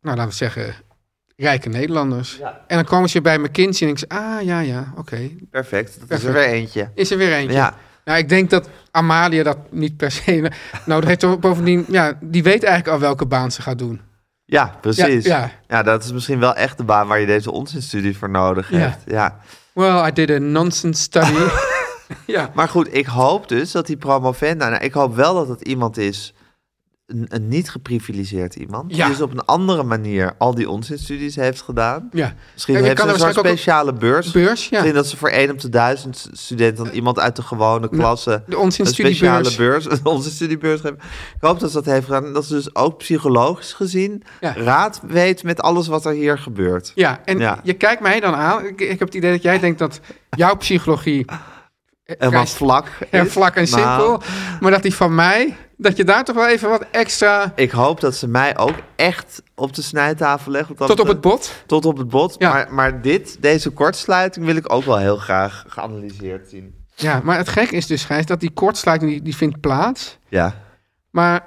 Speaker 2: nou laten we zeggen, rijke Nederlanders. En dan komen ze bij McKinsey en ik zeg, ah ja, ja, oké.
Speaker 1: Perfect, dat is er
Speaker 2: Perfect.
Speaker 1: weer eentje.
Speaker 2: Is er weer eentje.
Speaker 1: Ja,
Speaker 2: Nou, ik denk dat Amalia dat niet per se... Nou, dat heeft toch bovendien... Ja, die weet eigenlijk al welke baan ze gaat doen.
Speaker 1: ja precies.
Speaker 2: Ja, ja.
Speaker 1: Ja, dat is misschien wel echt de baan waar je deze onzinstudie voor nodig
Speaker 2: Ja.
Speaker 1: hebt. Ja.
Speaker 2: Well, I did a nonsense study. ja.
Speaker 1: Maar goed, ik hoop dus dat die promovenda... Nou, ik hoop wel dat het iemand is, een, een niet geprivilegeerd iemand...
Speaker 2: Ja.
Speaker 1: die dus op een andere manier al die onzinstudies heeft gedaan.
Speaker 2: ja.
Speaker 1: Misschien
Speaker 2: Ja, je
Speaker 1: heeft
Speaker 2: kan
Speaker 1: ze
Speaker 2: er
Speaker 1: een soort
Speaker 2: waarschijnlijk
Speaker 1: speciale
Speaker 2: ook een-
Speaker 1: beurs.
Speaker 2: Beurs, ja. Eh,
Speaker 1: Misschien dat ze voor 1 op de 1000 studenten... dan iemand uit de gewone klasse...
Speaker 2: De
Speaker 1: een
Speaker 2: onzinstudiebeurs.
Speaker 1: speciale beurs, een onzinstudiebeurs geven. Ik hoop dat ze dat heeft gedaan. en Dat ze dus ook psychologisch gezien
Speaker 2: Ja.
Speaker 1: raad weet met alles wat er hier gebeurt.
Speaker 2: Ja, en
Speaker 1: Ja.
Speaker 2: je kijkt mij dan aan. Ik, ik heb het idee dat jij denkt dat jouw psychologie eh,
Speaker 1: Helemaal
Speaker 2: vrij-
Speaker 1: vlak.
Speaker 2: en
Speaker 1: is.
Speaker 2: vlak en
Speaker 1: Nou,
Speaker 2: simpel, maar dat die van mij, dat je daar toch wel even wat extra
Speaker 1: Ik hoop dat ze mij ook echt op de snijtafel legt. want dat
Speaker 2: tot op het
Speaker 1: betreft-
Speaker 2: bot.
Speaker 1: Tot op het bot.
Speaker 2: Ja.
Speaker 1: Maar, maar dit, deze kortsluiting wil ik ook wel heel graag geanalyseerd zien.
Speaker 2: Ja, maar het gek is dus, Gijs, dat die kortsluiting die, die vindt plaats.
Speaker 1: Ja.
Speaker 2: Maar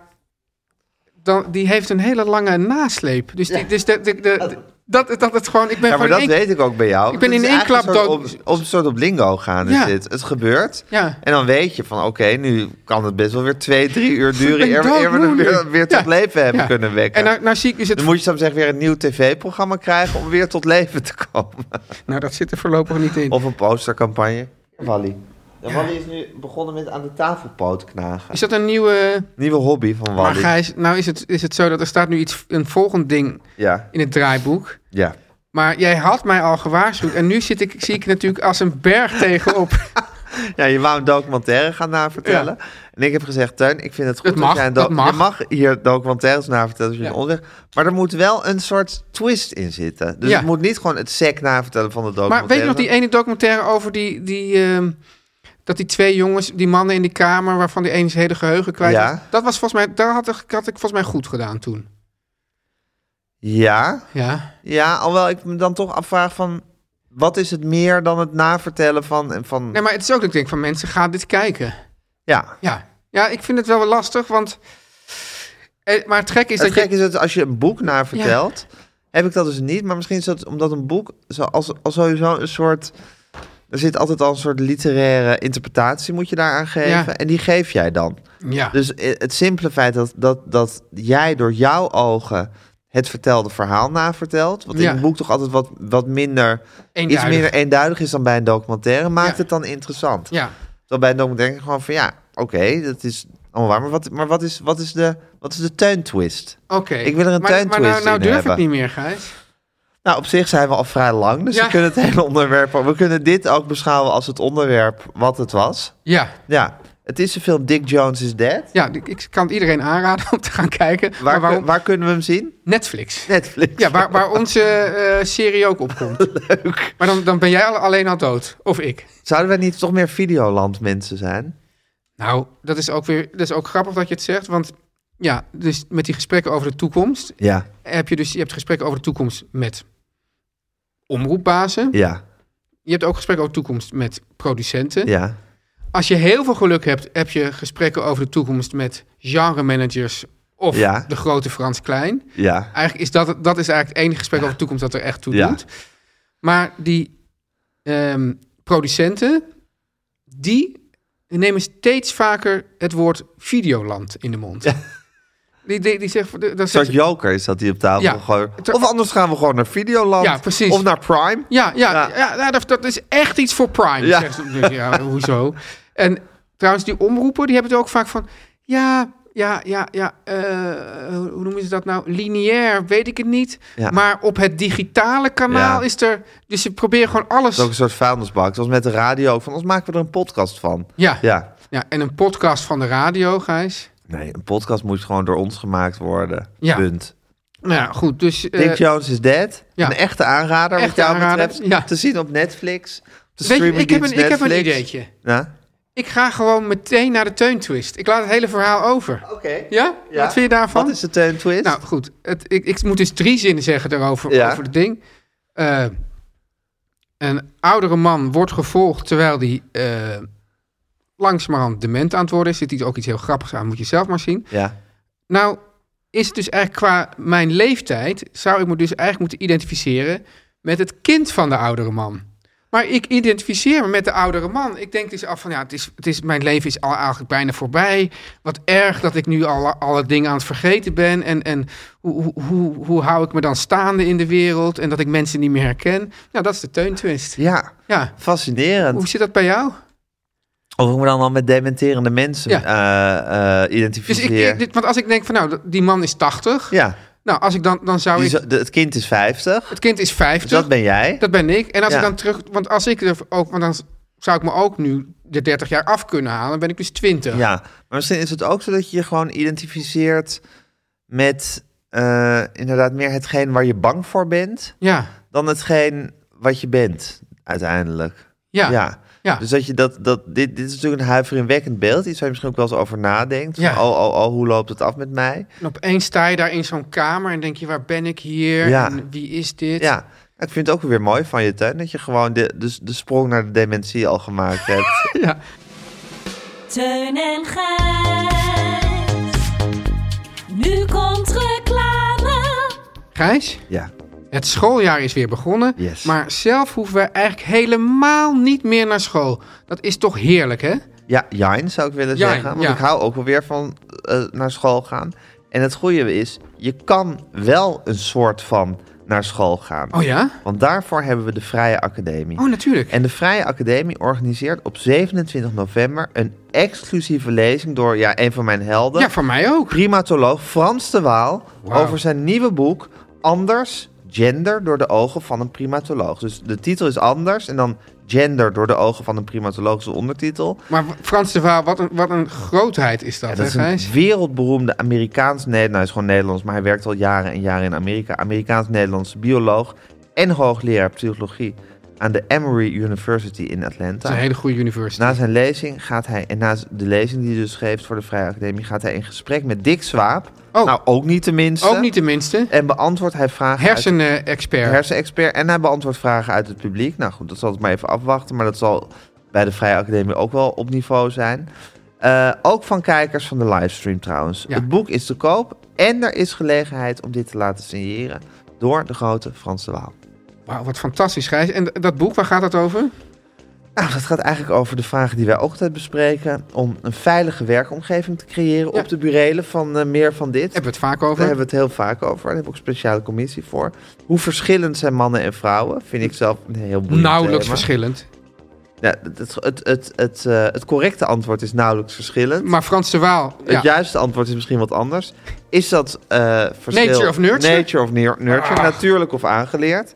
Speaker 2: dan, die heeft een hele lange nasleep. Dus, die, dus de, de, de- dat, dat het gewoon... Ik ben
Speaker 1: ja, maar
Speaker 2: gewoon
Speaker 1: dat
Speaker 2: één-
Speaker 1: weet ik ook bij jou.
Speaker 2: Ik ben
Speaker 1: Het is
Speaker 2: in één
Speaker 1: eigenlijk
Speaker 2: klap
Speaker 1: een soort
Speaker 2: dood-
Speaker 1: Op, op, een soort op lingo gaan is
Speaker 2: Ja.
Speaker 1: dit. Het gebeurt.
Speaker 2: Ja.
Speaker 1: En dan weet je van, oké, nu kan het best wel weer twee, drie uur duren...
Speaker 2: ben
Speaker 1: eer, eer we hem
Speaker 2: doodmoe nu.
Speaker 1: weer, weer tot
Speaker 2: Ja.
Speaker 1: leven hebben
Speaker 2: Ja.
Speaker 1: kunnen wekken.
Speaker 2: En nou, nou zie ik dus het...
Speaker 1: Dan moet je soms zeggen weer een nieuw tv-programma krijgen... om weer tot leven te komen.
Speaker 2: Nou, dat zit er voorlopig niet in.
Speaker 1: Of een postercampagne. Wally. En Wally is nu begonnen met aan de tafelpoot knagen.
Speaker 2: Is dat een nieuwe...
Speaker 1: Nieuwe hobby van
Speaker 2: Maar
Speaker 1: Wally.
Speaker 2: Gijs, nou is het, is het zo dat er staat nu iets, een volgend ding
Speaker 1: Ja,
Speaker 2: in het draaiboek.
Speaker 1: ja.
Speaker 2: Maar jij had mij al gewaarschuwd. En nu zit ik, zie ik natuurlijk als een berg tegenop.
Speaker 1: Ja, je wou een documentaire gaan navertellen. En ik heb gezegd, Teun, ik vind het goed
Speaker 2: Dat mag,
Speaker 1: jij een
Speaker 2: dat mag.
Speaker 1: Je mag hier documentaires navertellen als je
Speaker 2: Ja.
Speaker 1: een onderweg... Maar er moet wel een soort twist in zitten. Dus
Speaker 2: Ja.
Speaker 1: het moet niet gewoon het sec navertellen van de
Speaker 2: Maar
Speaker 1: documentaire.
Speaker 2: weet je nog die ene documentaire over die... die ehm, dat die twee jongens, die mannen in die kamer... waarvan die ene zijn hele geheugen kwijt
Speaker 1: Ja.
Speaker 2: was. Dat was volgens mij... Daar had ik, had ik volgens mij goed gedaan toen.
Speaker 1: Ja,
Speaker 2: Ja.
Speaker 1: ja, alhoewel ik me dan toch afvraag van... Wat is het meer dan het navertellen van... en van
Speaker 2: Nee, maar het is ook dat ik denk van mensen, ga dit kijken.
Speaker 1: ja,
Speaker 2: Ja. Ja, ik vind het wel wel lastig, want... eh, Maar het gek is
Speaker 1: het
Speaker 2: dat
Speaker 1: gek
Speaker 2: je...
Speaker 1: is dat als je een boek navertelt... Heb ik dat dus niet, maar misschien is dat omdat een boek... Zo, als, als sowieso een soort... Er zit altijd al een soort literaire interpretatie moet je daaraan geven.
Speaker 2: Ja.
Speaker 1: En die geef jij dan.
Speaker 2: Ja.
Speaker 1: Dus eh, het simpele feit dat, dat, dat jij door jouw ogen het vertelde verhaal navertelt. Wat in
Speaker 2: Ja.
Speaker 1: een boek toch altijd wat, wat minder, iets
Speaker 2: Eenduidig.
Speaker 1: minder eenduidig is dan bij een documentaire, maakt
Speaker 2: Ja.
Speaker 1: het dan interessant.
Speaker 2: Ja.
Speaker 1: Terwijl bij een documentaire gewoon van ja, oké, dat is allemaal waar. Maar wat, maar wat is, wat is de, wat is de tuintwist?
Speaker 2: Oké.
Speaker 1: Ik wil er een
Speaker 2: maar, maar
Speaker 1: tuintwist
Speaker 2: nou, nou
Speaker 1: in
Speaker 2: durf
Speaker 1: hebben.
Speaker 2: ik niet meer, Gijs.
Speaker 1: Nou, op zich zijn we al vrij lang, dus
Speaker 2: Ja.
Speaker 1: we kunnen het hele onderwerp... We kunnen dit ook beschouwen als het onderwerp wat het was.
Speaker 2: Ja.
Speaker 1: Ja, het is de film Dick Jones is Dead.
Speaker 2: Ja, ik- ik kan het iedereen aanraden om te gaan kijken.
Speaker 1: Waar,
Speaker 2: maar
Speaker 1: kun-
Speaker 2: waarom?
Speaker 1: waar kunnen we hem zien?
Speaker 2: Netflix.
Speaker 1: Netflix.
Speaker 2: Ja, waar, waar onze eh, serie ook op komt. Leuk. Maar dan, dan ben jij al- alleen al dood. Of ik.
Speaker 1: Zouden wij niet toch meer Videoland mensen zijn?
Speaker 2: Nou, dat is ook weer dat is ook grappig dat je het zegt. Want ja, dus met die gesprekken over de toekomst.
Speaker 1: Ja,
Speaker 2: Heb je dus je hebt gesprekken over de toekomst met omroepbazen.
Speaker 1: ja,
Speaker 2: Je hebt ook gesprekken over de toekomst met producenten.
Speaker 1: ja.
Speaker 2: Als je heel veel geluk hebt, heb je gesprekken over de toekomst met genremanagers of
Speaker 1: Ja.
Speaker 2: de grote Frans Klein.
Speaker 1: Ja,
Speaker 2: Eigenlijk is dat, dat is eigenlijk het enige gesprek over de toekomst dat er echt toe
Speaker 1: Ja.
Speaker 2: doet. Maar die ehm, producenten, die nemen steeds vaker het woord videoland in de mond. Die, die, die zegt... dat
Speaker 1: een soort
Speaker 2: zegt-
Speaker 1: joker is dat die op tafel
Speaker 2: Ja.
Speaker 1: gooit. Of anders gaan we gewoon naar Videoland.
Speaker 2: Ja, precies.
Speaker 1: Of naar Prime.
Speaker 2: ja, ja,
Speaker 1: Ja.
Speaker 2: ja. nou, dat, dat is echt iets voor Prime.
Speaker 1: Ja.
Speaker 2: Zegt, ze. Dus ja, hoezo? En trouwens, die omroepen, die hebben het ook vaak van... Ja, ja, ja, ja, eh, hoe noemen ze dat nou? Lineair, weet ik het niet.
Speaker 1: Ja.
Speaker 2: Maar op het digitale kanaal
Speaker 1: Ja.
Speaker 2: is er... Dus ze proberen gewoon
Speaker 1: Dat
Speaker 2: alles...
Speaker 1: is ook een soort vuilnisbak. Zoals met de radio ook. Van ons maken we er een podcast van.
Speaker 2: Ja. Ja.
Speaker 1: Ja.
Speaker 2: en een podcast van de radio, Gijs.
Speaker 1: Nee, een podcast moet gewoon door ons gemaakt worden.
Speaker 2: Ja.
Speaker 1: Punt.
Speaker 2: Nou ja, goed, dus... eh,
Speaker 1: Dick Jones is dead.
Speaker 2: ja.
Speaker 1: Een echte aanrader wat
Speaker 2: Echte
Speaker 1: jou
Speaker 2: aanrader,
Speaker 1: betreft.
Speaker 2: ja.
Speaker 1: Te zien op Netflix. Op de
Speaker 2: weet je, ik heb, een,
Speaker 1: streamingdienst
Speaker 2: ik heb een
Speaker 1: Netflix.
Speaker 2: ideetje.
Speaker 1: Ja?
Speaker 2: Ik ga gewoon meteen naar de teuntwist. Ik laat het hele verhaal over.
Speaker 1: Oké.
Speaker 2: Ja?
Speaker 1: Ja.
Speaker 2: Wat vind je daarvan?
Speaker 1: Wat is de Teun Twist?
Speaker 2: Nou goed, het, ik, ik moet dus drie zinnen zeggen daarover,
Speaker 1: Ja.
Speaker 2: over het ding. Eh, een oudere man wordt gevolgd terwijl die eh langzamerhand dement aan het worden is. Zit hier ook iets heel grappigs aan, moet je zelf maar zien.
Speaker 1: ja.
Speaker 2: Nou, is het dus eigenlijk qua mijn leeftijd, zou ik me dus eigenlijk moeten identificeren met het kind van de oudere man. Maar ik identificeer me met de oudere man. Ik denk dus af van, ja, het is, het is, mijn leven is al eigenlijk bijna voorbij. Wat erg dat ik nu alle, alle dingen aan het vergeten ben. En, en hoe, hoe, hoe, hoe hou ik me dan staande in de wereld? En dat ik mensen niet meer herken. Nou, dat is de teuntwist.
Speaker 1: Ja,
Speaker 2: Ja.
Speaker 1: fascinerend.
Speaker 2: Hoe zit dat bij jou?
Speaker 1: Of ik me dan wel met dementerende mensen eh, eh,
Speaker 2: Dus ik,
Speaker 1: identificeer.
Speaker 2: ik- dit, want als ik denk van, nou, dat- die man is 80.
Speaker 1: ja,
Speaker 2: Nou, als ik dan, dan zou
Speaker 1: die
Speaker 2: ik...
Speaker 1: zo- de- het kind is 50.
Speaker 2: Het kind is 50.
Speaker 1: Dus dat ben jij.
Speaker 2: Dat ben ik. En als
Speaker 1: Ja.
Speaker 2: ik dan terug. Want als ik er ook. Want dan zou ik me ook nu de 30 jaar af kunnen halen. Dan ben ik dus 20.
Speaker 1: Ja, maar misschien is het ook zo dat je je gewoon identificeert met eh, inderdaad meer hetgeen waar je bang voor bent
Speaker 2: Ja.
Speaker 1: dan hetgeen wat je bent uiteindelijk.
Speaker 2: Ja. ja. Ja.
Speaker 1: Dus dat je dat, dat dit, dit is natuurlijk een huiveringwekkend beeld, iets waar je misschien ook wel eens over nadenkt.
Speaker 2: Ja.
Speaker 1: Van, oh, oh, oh, hoe loopt het af met mij?
Speaker 2: En opeens sta je daar in zo'n kamer en denk je: waar ben ik hier?
Speaker 1: Ja.
Speaker 2: En wie is dit?
Speaker 1: Ja. Ik vind het ook weer mooi van je tuin dat je gewoon de, de, de sprong naar de dementie al gemaakt hebt.
Speaker 2: Ja.
Speaker 5: Teun en Gijs. Nu komt reclame.
Speaker 2: Gijs,
Speaker 1: ja.
Speaker 2: het schooljaar is weer begonnen.
Speaker 1: Yes.
Speaker 2: Maar zelf hoeven wij eigenlijk helemaal niet meer naar school. Dat is toch heerlijk, hè?
Speaker 1: Ja, Jijn zou ik willen
Speaker 2: Jijn,
Speaker 1: zeggen. Want
Speaker 2: ja.
Speaker 1: ik hou ook wel weer van eh, naar school gaan. En het goede is, je kan wel een soort van naar school gaan.
Speaker 2: Oh ja?
Speaker 1: Want daarvoor hebben we de Vrije Academie.
Speaker 2: Oh, natuurlijk.
Speaker 1: En de Vrije Academie organiseert op 27 november een exclusieve lezing door ja, een van mijn helden.
Speaker 2: Ja, voor mij ook.
Speaker 1: primatoloog Frans de Waal
Speaker 2: Wauw.
Speaker 1: over zijn nieuwe boek Anders gender door de ogen van een primatoloog. Dus de titel is anders en dan gender door de ogen van een primatoloog is de ondertitel.
Speaker 2: Maar Frans de Waal, wat een, wat een grootheid is dat,
Speaker 1: Ja,
Speaker 2: hè,
Speaker 1: dat is
Speaker 2: Gijs?
Speaker 1: een wereldberoemde Amerikaans... Nee, nou, hij is gewoon Nederlands, maar hij werkt al jaren en jaren in Amerika. Amerikaans-Nederlands bioloog en hoogleraar psychologie aan de Emory University in
Speaker 2: Dat is een
Speaker 1: Atlanta.
Speaker 2: hele goede universiteit.
Speaker 1: Dus Na zijn lezing gaat hij, en na de lezing die hij dus geeft voor de Vrije Academie, gaat hij in gesprek met Dick Swaap.
Speaker 2: Oh.
Speaker 1: Nou, ook niet tenminste.
Speaker 2: Ook niet tenminste.
Speaker 1: En beantwoordt hij vragen uit-
Speaker 2: Hersenexpert.
Speaker 1: hersenexpert. En hij beantwoordt vragen uit het publiek. Nou goed, dat zal ik maar even afwachten. Maar dat zal bij de Vrije Academie ook wel op niveau zijn. Eh, ook van kijkers van de livestream trouwens.
Speaker 2: Ja.
Speaker 1: Het boek is te koop. En er is gelegenheid om dit te laten signeren door de grote Frans de Waal.
Speaker 2: Wauw, wat fantastisch, Gijs. En d- dat boek, waar gaat dat over?
Speaker 1: Nou, dat gaat eigenlijk over de vragen die wij ook altijd bespreken. Om een veilige werkomgeving te creëren
Speaker 2: Ja.
Speaker 1: op de burelen van eh, meer van dit.
Speaker 2: Hebben we het vaak over?
Speaker 1: Daar hebben we het heel vaak over. Daar hebben we ook een speciale commissie voor. Hoe verschillend zijn mannen en vrouwen? Vind ik zelf een heel boeiend
Speaker 2: Nauwelijks
Speaker 1: thema.
Speaker 2: verschillend.
Speaker 1: Ja, het, het, het, het, het, eh, het correcte antwoord is nauwelijks verschillend.
Speaker 2: Maar Frans de Waal, ja.
Speaker 1: Het juiste antwoord is misschien wat anders. Is dat eh, verschil...
Speaker 2: Nature of nurture? Ah.
Speaker 1: Nature of neer- nurture, natuurlijk of aangeleerd.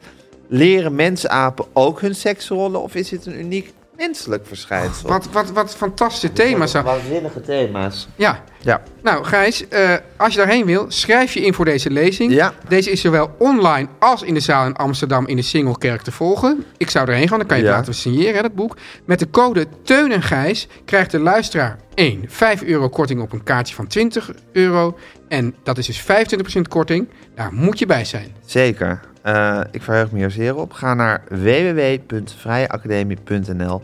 Speaker 1: Leren mensapen ook hun seksrollen of is dit een uniek menselijk verschijnsel?
Speaker 2: wat, wat, wat fantastische thema's. zou-
Speaker 1: Waanzinnige thema's.
Speaker 2: Ja.
Speaker 1: Ja.
Speaker 2: Nou, Gijs, eh, als je daarheen wil, schrijf je in voor deze lezing.
Speaker 1: Ja.
Speaker 2: Deze is zowel online als in de zaal in Amsterdam in de Singelkerk te volgen. Ik zou erheen gaan, dan kan je het
Speaker 1: Ja.
Speaker 2: laten signeren, hè, dat boek. Met de code Teun en Gijs krijgt de luisteraar 1. 5 euro korting op een kaartje van 20 euro. En dat is dus 25% korting. Daar moet je bij zijn.
Speaker 1: Zeker. Eh, ik verheug me hier zeer op. Ga naar www.vrijeacademie.nl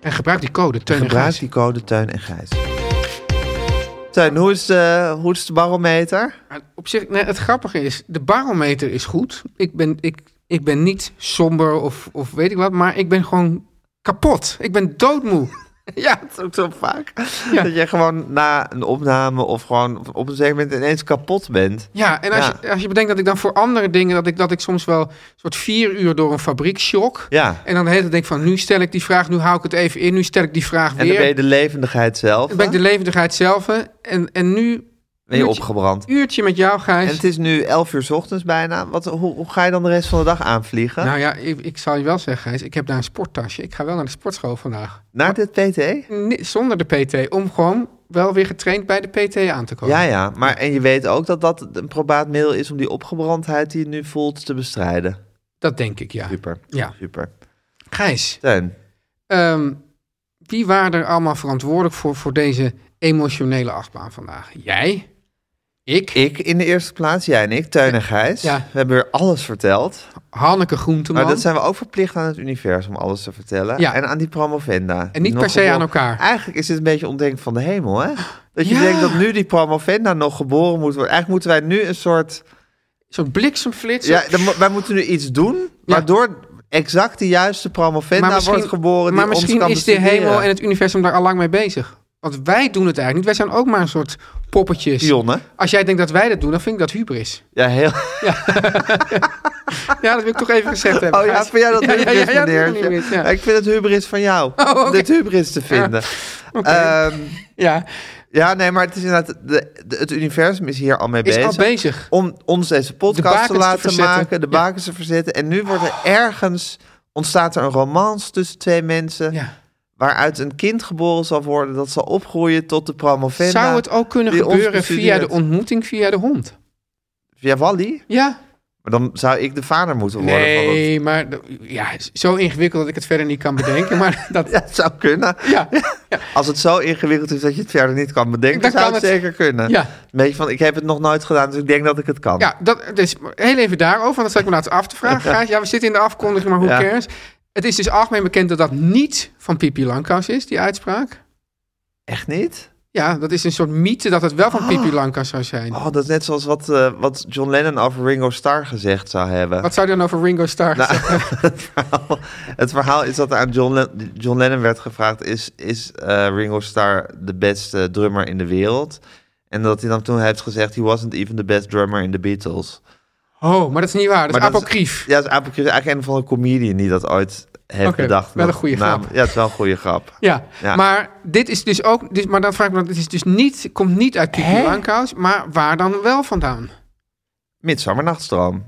Speaker 2: En gebruik die code Teun en
Speaker 1: Gebruik
Speaker 2: Gijs.
Speaker 1: die code Teun en Gijs. Teun, hoe is de, hoe is de barometer?
Speaker 2: Maar Op zich, nee, het grappige is, de barometer is goed. Ik ben, ik, ik ben niet somber of, of weet ik wat, maar ik ben gewoon kapot. Ik ben doodmoe. ja,
Speaker 1: Dat is ook zo vaak.
Speaker 2: Ja.
Speaker 1: Dat je gewoon na een opname of gewoon op een zeker moment ineens kapot bent.
Speaker 2: ja en als,
Speaker 1: Ja.
Speaker 2: Je, als je bedenkt dat ik dan voor andere dingen, dat ik, dat ik soms wel een soort vier uur door een fabriek shock.
Speaker 1: Ja.
Speaker 2: En dan de hele tijd denk van, nu stel ik die vraag, nu hou ik het even in, nu stel ik die vraag
Speaker 1: En dan
Speaker 2: weer.
Speaker 1: ben je de levendigheid zelf.
Speaker 2: Dan ben ik de levendigheid zelf. hè. En, en nu,
Speaker 1: ben je opgebrand.
Speaker 2: uurtje met jou, Gijs.
Speaker 1: En het is nu 11 uur 's ochtends bijna. Wat, hoe, hoe ga je dan de rest van de dag aanvliegen?
Speaker 2: Nou ja, ik, ik zal je wel zeggen, Gijs, ik heb daar een sporttasje. Ik ga wel naar de sportschool vandaag.
Speaker 1: Naar dit PT?
Speaker 2: Nee, zonder de PT. Om gewoon wel weer getraind bij de PT aan te komen.
Speaker 1: Ja, ja. Maar, en je weet ook dat dat een probaat middel is om die opgebrandheid die je nu voelt te bestrijden.
Speaker 2: Dat denk ik, ja.
Speaker 1: Super.
Speaker 2: Ja.
Speaker 1: Super.
Speaker 2: Gijs,
Speaker 1: Teun,
Speaker 2: ehm, wie waren er allemaal verantwoordelijk voor, voor deze emotionele achtbaan vandaag? Jij? Ik?
Speaker 1: ik in de eerste plaats, jij en ik, Teun en Gijs.
Speaker 2: Ja.
Speaker 1: We hebben weer alles verteld.
Speaker 2: Hanneke Groenteman?
Speaker 1: Maar Ah, dat zijn we ook verplicht aan het universum om alles te vertellen.
Speaker 2: Ja.
Speaker 1: En aan die promovenda.
Speaker 2: En niet
Speaker 1: Nog
Speaker 2: per se aan
Speaker 1: geboren-
Speaker 2: elkaar.
Speaker 1: Eigenlijk is dit een beetje ontdekkend van de hemel, hè? Dat je
Speaker 2: Ja.
Speaker 1: denkt dat nu die promovenda nog geboren moet worden. Eigenlijk moeten wij nu een soort...
Speaker 2: Zo'n bliksemflits.
Speaker 1: Ja, dan mo- wij moeten nu iets doen,
Speaker 2: Ja.
Speaker 1: waardoor exact de juiste promovenda
Speaker 2: misschien-
Speaker 1: wordt geboren die
Speaker 2: maar misschien
Speaker 1: ons kan
Speaker 2: is de
Speaker 1: bestuderen.
Speaker 2: hemel en het universum daar al lang mee bezig. Want wij doen het eigenlijk niet. Wij zijn ook maar een soort poppetjes.
Speaker 1: Jonne.
Speaker 2: Als jij denkt dat wij dat doen, dan vind ik dat hubris.
Speaker 1: Ja, heel...
Speaker 2: Ja, dat wil ik toch even gezegd hebben.
Speaker 1: Oh ja,
Speaker 2: Gijs.
Speaker 1: vind jij dat
Speaker 2: Ja, ja,
Speaker 1: hubris,
Speaker 2: ja, ja, dat
Speaker 1: meneertje?
Speaker 2: doe ik niet, ja.
Speaker 1: Ik vind het hubris van jou.
Speaker 2: Oh, oké.
Speaker 1: Dit hubris te vinden. Ehm,
Speaker 2: Ja,
Speaker 1: ja, nee, maar het is inderdaad... de- de- het universum is hier al mee
Speaker 2: is
Speaker 1: bezig.
Speaker 2: al bezig.
Speaker 1: om ons deze
Speaker 2: De
Speaker 1: podcast
Speaker 2: bakens
Speaker 1: te
Speaker 2: te
Speaker 1: laten
Speaker 2: verzetten.
Speaker 1: maken, de
Speaker 2: Ja.
Speaker 1: bakens te verzetten. En nu wordt er ergens, ontstaat er een romance tussen twee mensen,
Speaker 2: Ja.
Speaker 1: waaruit een kind geboren zal worden, dat zal opgroeien tot de promovenda.
Speaker 2: Zou het ook kunnen
Speaker 1: die ons
Speaker 2: gebeuren via
Speaker 1: bestudeert.
Speaker 2: de ontmoeting via de hond?
Speaker 1: Ja, Wally?
Speaker 2: Ja.
Speaker 1: Maar dan zou ik de vader moeten worden van het...
Speaker 2: Nee, maar d- ja, zo ingewikkeld dat ik het verder niet kan bedenken. Maar dat,
Speaker 1: Ja, het zou kunnen.
Speaker 2: ja,
Speaker 1: Als het zo ingewikkeld is dat je het verder niet kan bedenken,
Speaker 2: Dan
Speaker 1: zou
Speaker 2: kan
Speaker 1: het,
Speaker 2: het.
Speaker 1: zeker kunnen.
Speaker 2: Ja.
Speaker 1: Weet je, van ik heb het nog nooit gedaan, dus ik denk dat ik het kan.
Speaker 2: Ja, dat, dus heel even daarover, want dat zat ik me laatst af te vragen. Gijs. Ja, we zitten in de afkondiging, maar hoe
Speaker 1: Ja.
Speaker 2: cares? Het is dus algemeen bekend dat dat niet van Pipi Langkous is, die uitspraak.
Speaker 1: Echt niet?
Speaker 2: Ja, dat is een soort mythe dat het wel van Pipi Langkous zou zijn.
Speaker 1: Oh, dat is net zoals wat, eh, wat John Lennon over Ringo Starr gezegd zou hebben.
Speaker 2: Wat zou je dan over Ringo Starr
Speaker 1: Nou,
Speaker 2: zeggen?
Speaker 1: het, verhaal, het verhaal is dat er aan John, Len- John Lennon werd gevraagd: is, is eh, Ringo Starr de beste drummer in de wereld? En dat hij dan toen heeft gezegd: he wasn't even the best drummer in the Beatles.
Speaker 2: Oh, maar dat is niet waar. Dat
Speaker 1: Maar
Speaker 2: is
Speaker 1: dat is-
Speaker 2: apocrief.
Speaker 1: Ja, dat is apocrief. eigenlijk een van de comedian die dat ooit heeft
Speaker 2: Oké,
Speaker 1: bedacht.
Speaker 2: wel een
Speaker 1: Dat
Speaker 2: goede
Speaker 1: naam-
Speaker 2: grap.
Speaker 1: Ja, het is wel een goede grap.
Speaker 2: Ja.
Speaker 1: Ja.
Speaker 2: maar dit is dus ook... Dus, maar dan vraag ik me, af, dit is dus niet, komt niet uit Pipi Langkous, maar waar dan wel vandaan?
Speaker 1: Midsomernachtstroom,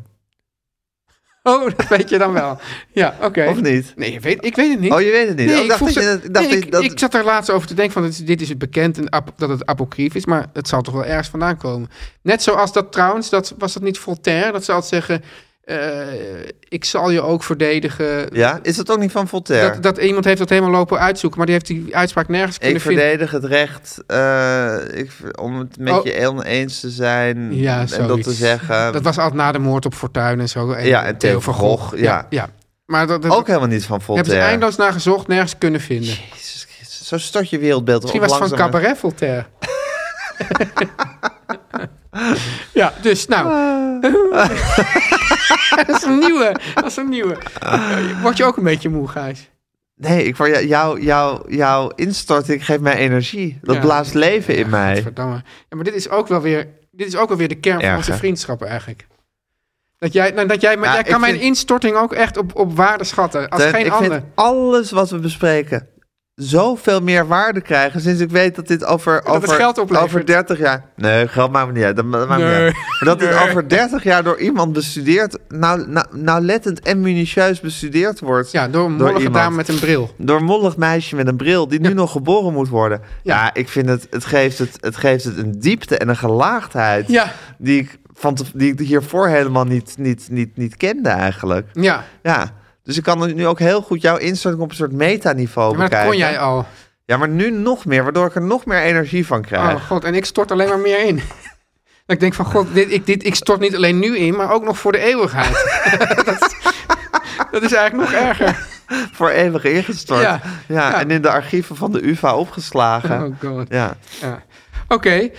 Speaker 2: Oh, dat weet je dan wel. Ja, oké.
Speaker 1: of niet?
Speaker 2: Nee, je weet, ik weet het niet.
Speaker 1: Oh, je weet het niet. Oh, ik
Speaker 2: Nee, ik,
Speaker 1: dacht
Speaker 2: voel
Speaker 1: dat
Speaker 2: ze-
Speaker 1: je dat- ik dacht
Speaker 2: nee,
Speaker 1: dat je
Speaker 2: ik,
Speaker 1: dat-
Speaker 2: ik zat er laatst over te denken van dit, dit is het bekend en ap- dat het apocrief is, maar het zal toch wel ergens vandaan komen. Net zoals dat trouwens, dat, was dat niet Voltaire, dat ze altijd zeggen, eh, ik zal je ook verdedigen.
Speaker 1: Ja, is dat ook niet van Voltaire?
Speaker 2: Dat, dat iemand heeft dat helemaal lopen uitzoeken, maar die heeft die uitspraak nergens kunnen
Speaker 1: Ik
Speaker 2: vinden.
Speaker 1: verdedig het recht eh, ik, ver- om het met
Speaker 2: Oh.
Speaker 1: je oneens te zijn
Speaker 2: Ja,
Speaker 1: en dat
Speaker 2: zoiets.
Speaker 1: te zeggen.
Speaker 2: Dat was altijd na de moord op Fortuyn en zo.
Speaker 1: Ehm, Ja, en Theo van Gogh, ja.
Speaker 2: ja, ja. Maar dat, dat
Speaker 1: Ook helemaal niet van
Speaker 2: hebben ze
Speaker 1: Voltaire.
Speaker 2: eindeloos naar gezocht, nergens kunnen vinden.
Speaker 1: Jezus Christus, Zo stort je wereldbeeld
Speaker 2: Misschien was het van
Speaker 1: langzaam-
Speaker 2: Cabaret Voltaire. ja, dus nou. dat is een nieuwe. Dat is een nieuwe. Word je ook een beetje moe, Gijs?
Speaker 1: Nee, ik, word- jou, jou, jouw instorting geeft mij energie. Dat
Speaker 2: Ja.
Speaker 1: blaast leven in mij.
Speaker 2: Verdamme. Ja, maar dit is ook wel weer, dit is ook wel weer de kern
Speaker 1: Erg,
Speaker 2: van onze
Speaker 1: hè?
Speaker 2: vriendschappen eigenlijk. Dat jij, nou, dat jij, maar
Speaker 1: Ja,
Speaker 2: jij
Speaker 1: ik
Speaker 2: kan mijn
Speaker 1: vind-
Speaker 2: instorting ook echt op, op waarde schatten. Als
Speaker 1: Teun,
Speaker 2: geen
Speaker 1: ik
Speaker 2: ander.
Speaker 1: vind alles wat we bespreken zoveel meer waarde krijgen sinds ik weet dat dit over,
Speaker 2: Dat het
Speaker 1: over,
Speaker 2: geld oplevert.
Speaker 1: over 30 jaar... Nee, geld maakt me niet uit. Dat, ma- dat maakt me
Speaker 2: Nee.
Speaker 1: niet uit. Maar dat het over 30 jaar door iemand bestudeerd, nau- nau- nauwlettend en minutieus bestudeerd wordt.
Speaker 2: Ja, door een mollige
Speaker 1: iemand.
Speaker 2: dame met een bril.
Speaker 1: Door een mollig meisje met een bril die nu nog geboren moet worden. Ja,
Speaker 2: Ja.
Speaker 1: ik vind het, het geeft het, het geeft het een diepte en een gelaagdheid
Speaker 2: Ja.
Speaker 1: die ik van te- die ik hiervoor helemaal niet, niet, niet, niet kende eigenlijk.
Speaker 2: Ja,
Speaker 1: Ja, dus ik kan nu ook heel goed jouw instorting op een soort metaniveau
Speaker 2: maar dat
Speaker 1: bekijken.
Speaker 2: kon jij al.
Speaker 1: Ja, maar nu nog meer, waardoor ik er nog meer energie van
Speaker 2: Oh
Speaker 1: krijg.
Speaker 2: god, en ik stort alleen maar meer in. Dat ik denk van, god, dit, ik, dit, ik stort niet alleen nu in, maar ook nog voor de eeuwigheid. dat, is, dat is eigenlijk nog erger.
Speaker 1: Voor eeuwig ingestort. Ja.
Speaker 2: Ja, ja.
Speaker 1: en in de archieven van de UvA opgeslagen.
Speaker 2: Oh god.
Speaker 1: Ja,
Speaker 2: Ja. Oké, eh, Ik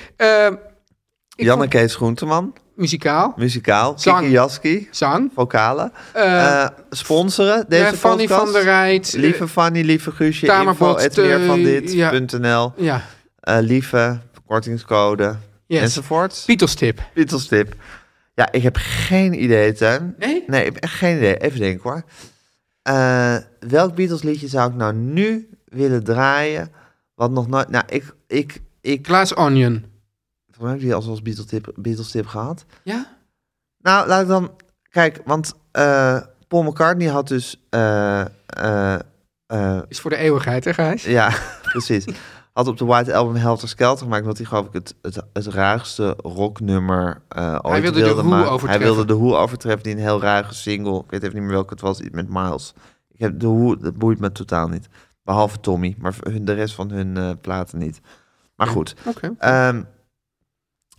Speaker 1: Jan en
Speaker 2: vond-
Speaker 1: Kees Groenteman,
Speaker 2: muzikaal,
Speaker 1: muzikaal.
Speaker 2: Zang.
Speaker 1: Kiki Jaski,
Speaker 2: zang.
Speaker 1: vocalen.
Speaker 2: eh,
Speaker 1: Eh, sponsoren deze
Speaker 2: eh, Fanny
Speaker 1: podcast.
Speaker 2: van der Rijt. eh,
Speaker 1: Lieve Fanny, lieve Guusje, info
Speaker 2: Tamerbot,
Speaker 1: het meer van
Speaker 2: eh,
Speaker 1: dit,
Speaker 2: ja.
Speaker 1: .nl.
Speaker 2: ja,
Speaker 1: Eh, lieve, kortingscode,
Speaker 2: yes.
Speaker 1: enzovoort.
Speaker 2: Beatles-tip.
Speaker 1: Beatles tip. Ja, ik heb geen idee, Tuin.
Speaker 2: Nee?
Speaker 1: Nee, ik heb echt geen idee. Even denken hoor. Eh, welk Beatles liedje zou ik nou nu willen draaien? Wat nog nooit... Nou, ik... ik, ik
Speaker 2: Glass Onion.
Speaker 1: volgens mij heb ik die als, als Beatles, tip, Beatles tip gehad.
Speaker 2: Ja?
Speaker 1: Nou, laat ik dan... Kijk, want eh, Paul McCartney had dus... eh, eh, eh,
Speaker 2: Is voor de eeuwigheid, hè Gijs?
Speaker 1: ja, precies. Had op de White Album Helter Skelter gemaakt, omdat hij geloof ik het, het, het raarste rocknummer eh ooit
Speaker 2: Hij wilde de Who
Speaker 1: maken. Hij
Speaker 2: overtreffen.
Speaker 1: wilde de Who overtreffen, die een heel ruige single. Ik weet even niet meer welke het was, iets met Miles. Ik heb de Who, dat boeit me totaal niet. Behalve Tommy, maar hun, de rest van hun eh, platen niet. Maar goed,
Speaker 2: Oké.
Speaker 1: Ehm,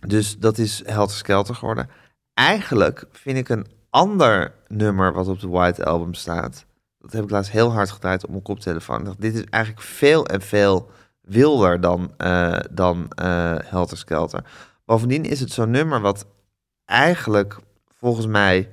Speaker 1: dus dat is Helter Skelter geworden. Eigenlijk vind ik een ander nummer wat op de White Album staat. Dat heb ik laatst heel hard gedraaid op mijn koptelefoon. Ik dacht, dit is eigenlijk veel en veel wilder dan, eh, dan eh, Helter Skelter. Bovendien is het zo'n nummer wat eigenlijk volgens mij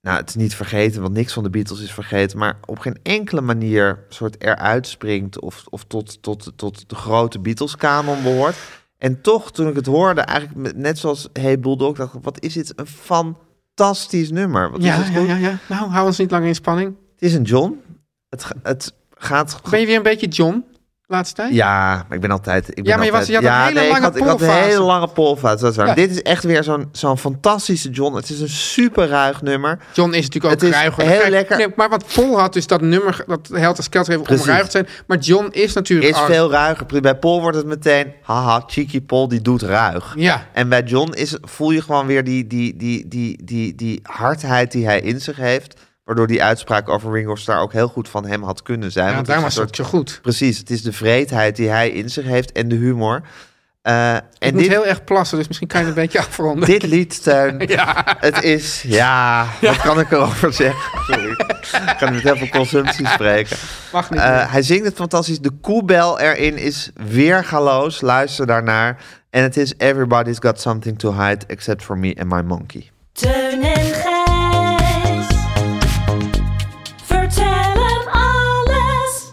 Speaker 1: nou, het is niet vergeten, want niks van de Beatles is vergeten, maar op geen enkele manier soort eruit springt of, of tot, tot, tot de grote Beatles-kanon behoort. En toch, toen ik het hoorde, eigenlijk met- net zoals Hey Bulldog, dacht ik, wat is dit een fantastisch nummer. Wat is
Speaker 2: Ja,
Speaker 1: het
Speaker 2: ja,
Speaker 1: goed.
Speaker 2: ja, ja. Nou, hou ons niet langer in spanning.
Speaker 1: Het is een John. Het, ga- het gaat...
Speaker 2: Ben je weer een beetje John, laatste tijd?
Speaker 1: Ja, maar ik ben altijd... Ik ben
Speaker 2: Ja, maar je was-
Speaker 1: altijd,
Speaker 2: je had een hele
Speaker 1: ik
Speaker 2: lange
Speaker 1: had, ik had een
Speaker 2: polfase.
Speaker 1: hele lange polfase. dat is waar.
Speaker 2: Ja.
Speaker 1: Dit is echt weer zo'n zo'n fantastische John. Het is een super ruig nummer.
Speaker 2: John is natuurlijk ook
Speaker 1: Het is
Speaker 2: ruiger.
Speaker 1: heel
Speaker 2: Kijk,
Speaker 1: lekker.
Speaker 2: nee, maar wat Paul had, dus dat nummer, dat Helter Skelter even
Speaker 1: Precies.
Speaker 2: omruigd zijn. Maar John is natuurlijk...
Speaker 1: Is
Speaker 2: al-
Speaker 1: veel ruiger. Bij Paul wordt het meteen, haha, cheeky Paul, die doet ruig.
Speaker 2: Ja.
Speaker 1: En bij John is, voel je gewoon weer die, die, die, die, die, die hardheid die hij in zich heeft. Waardoor die uitspraak over Ringo Starr ook heel goed van hem had kunnen zijn.
Speaker 2: Ja,
Speaker 1: Want het is
Speaker 2: daarom was
Speaker 1: een
Speaker 2: het ook zo goed.
Speaker 1: Precies, het is de vreedheid die hij in zich heeft en de humor. Eh,
Speaker 2: Ik
Speaker 1: en
Speaker 2: moet
Speaker 1: dit,
Speaker 2: heel erg plassen, dus misschien kan je het een beetje afronden.
Speaker 1: dit lied, Steun, het is... Ja, wat kan ik erover zeggen? Sorry, ik kan met heel veel consumptie spreken.
Speaker 2: Mag niet.
Speaker 1: Eh, hij zingt het fantastisch. De koebel erin is weergaloos. Luister daarnaar. En het is Everybody's Got Something to Hide Except for Me and My Monkey.
Speaker 7: Teun en Gijs. Vertel hem alles.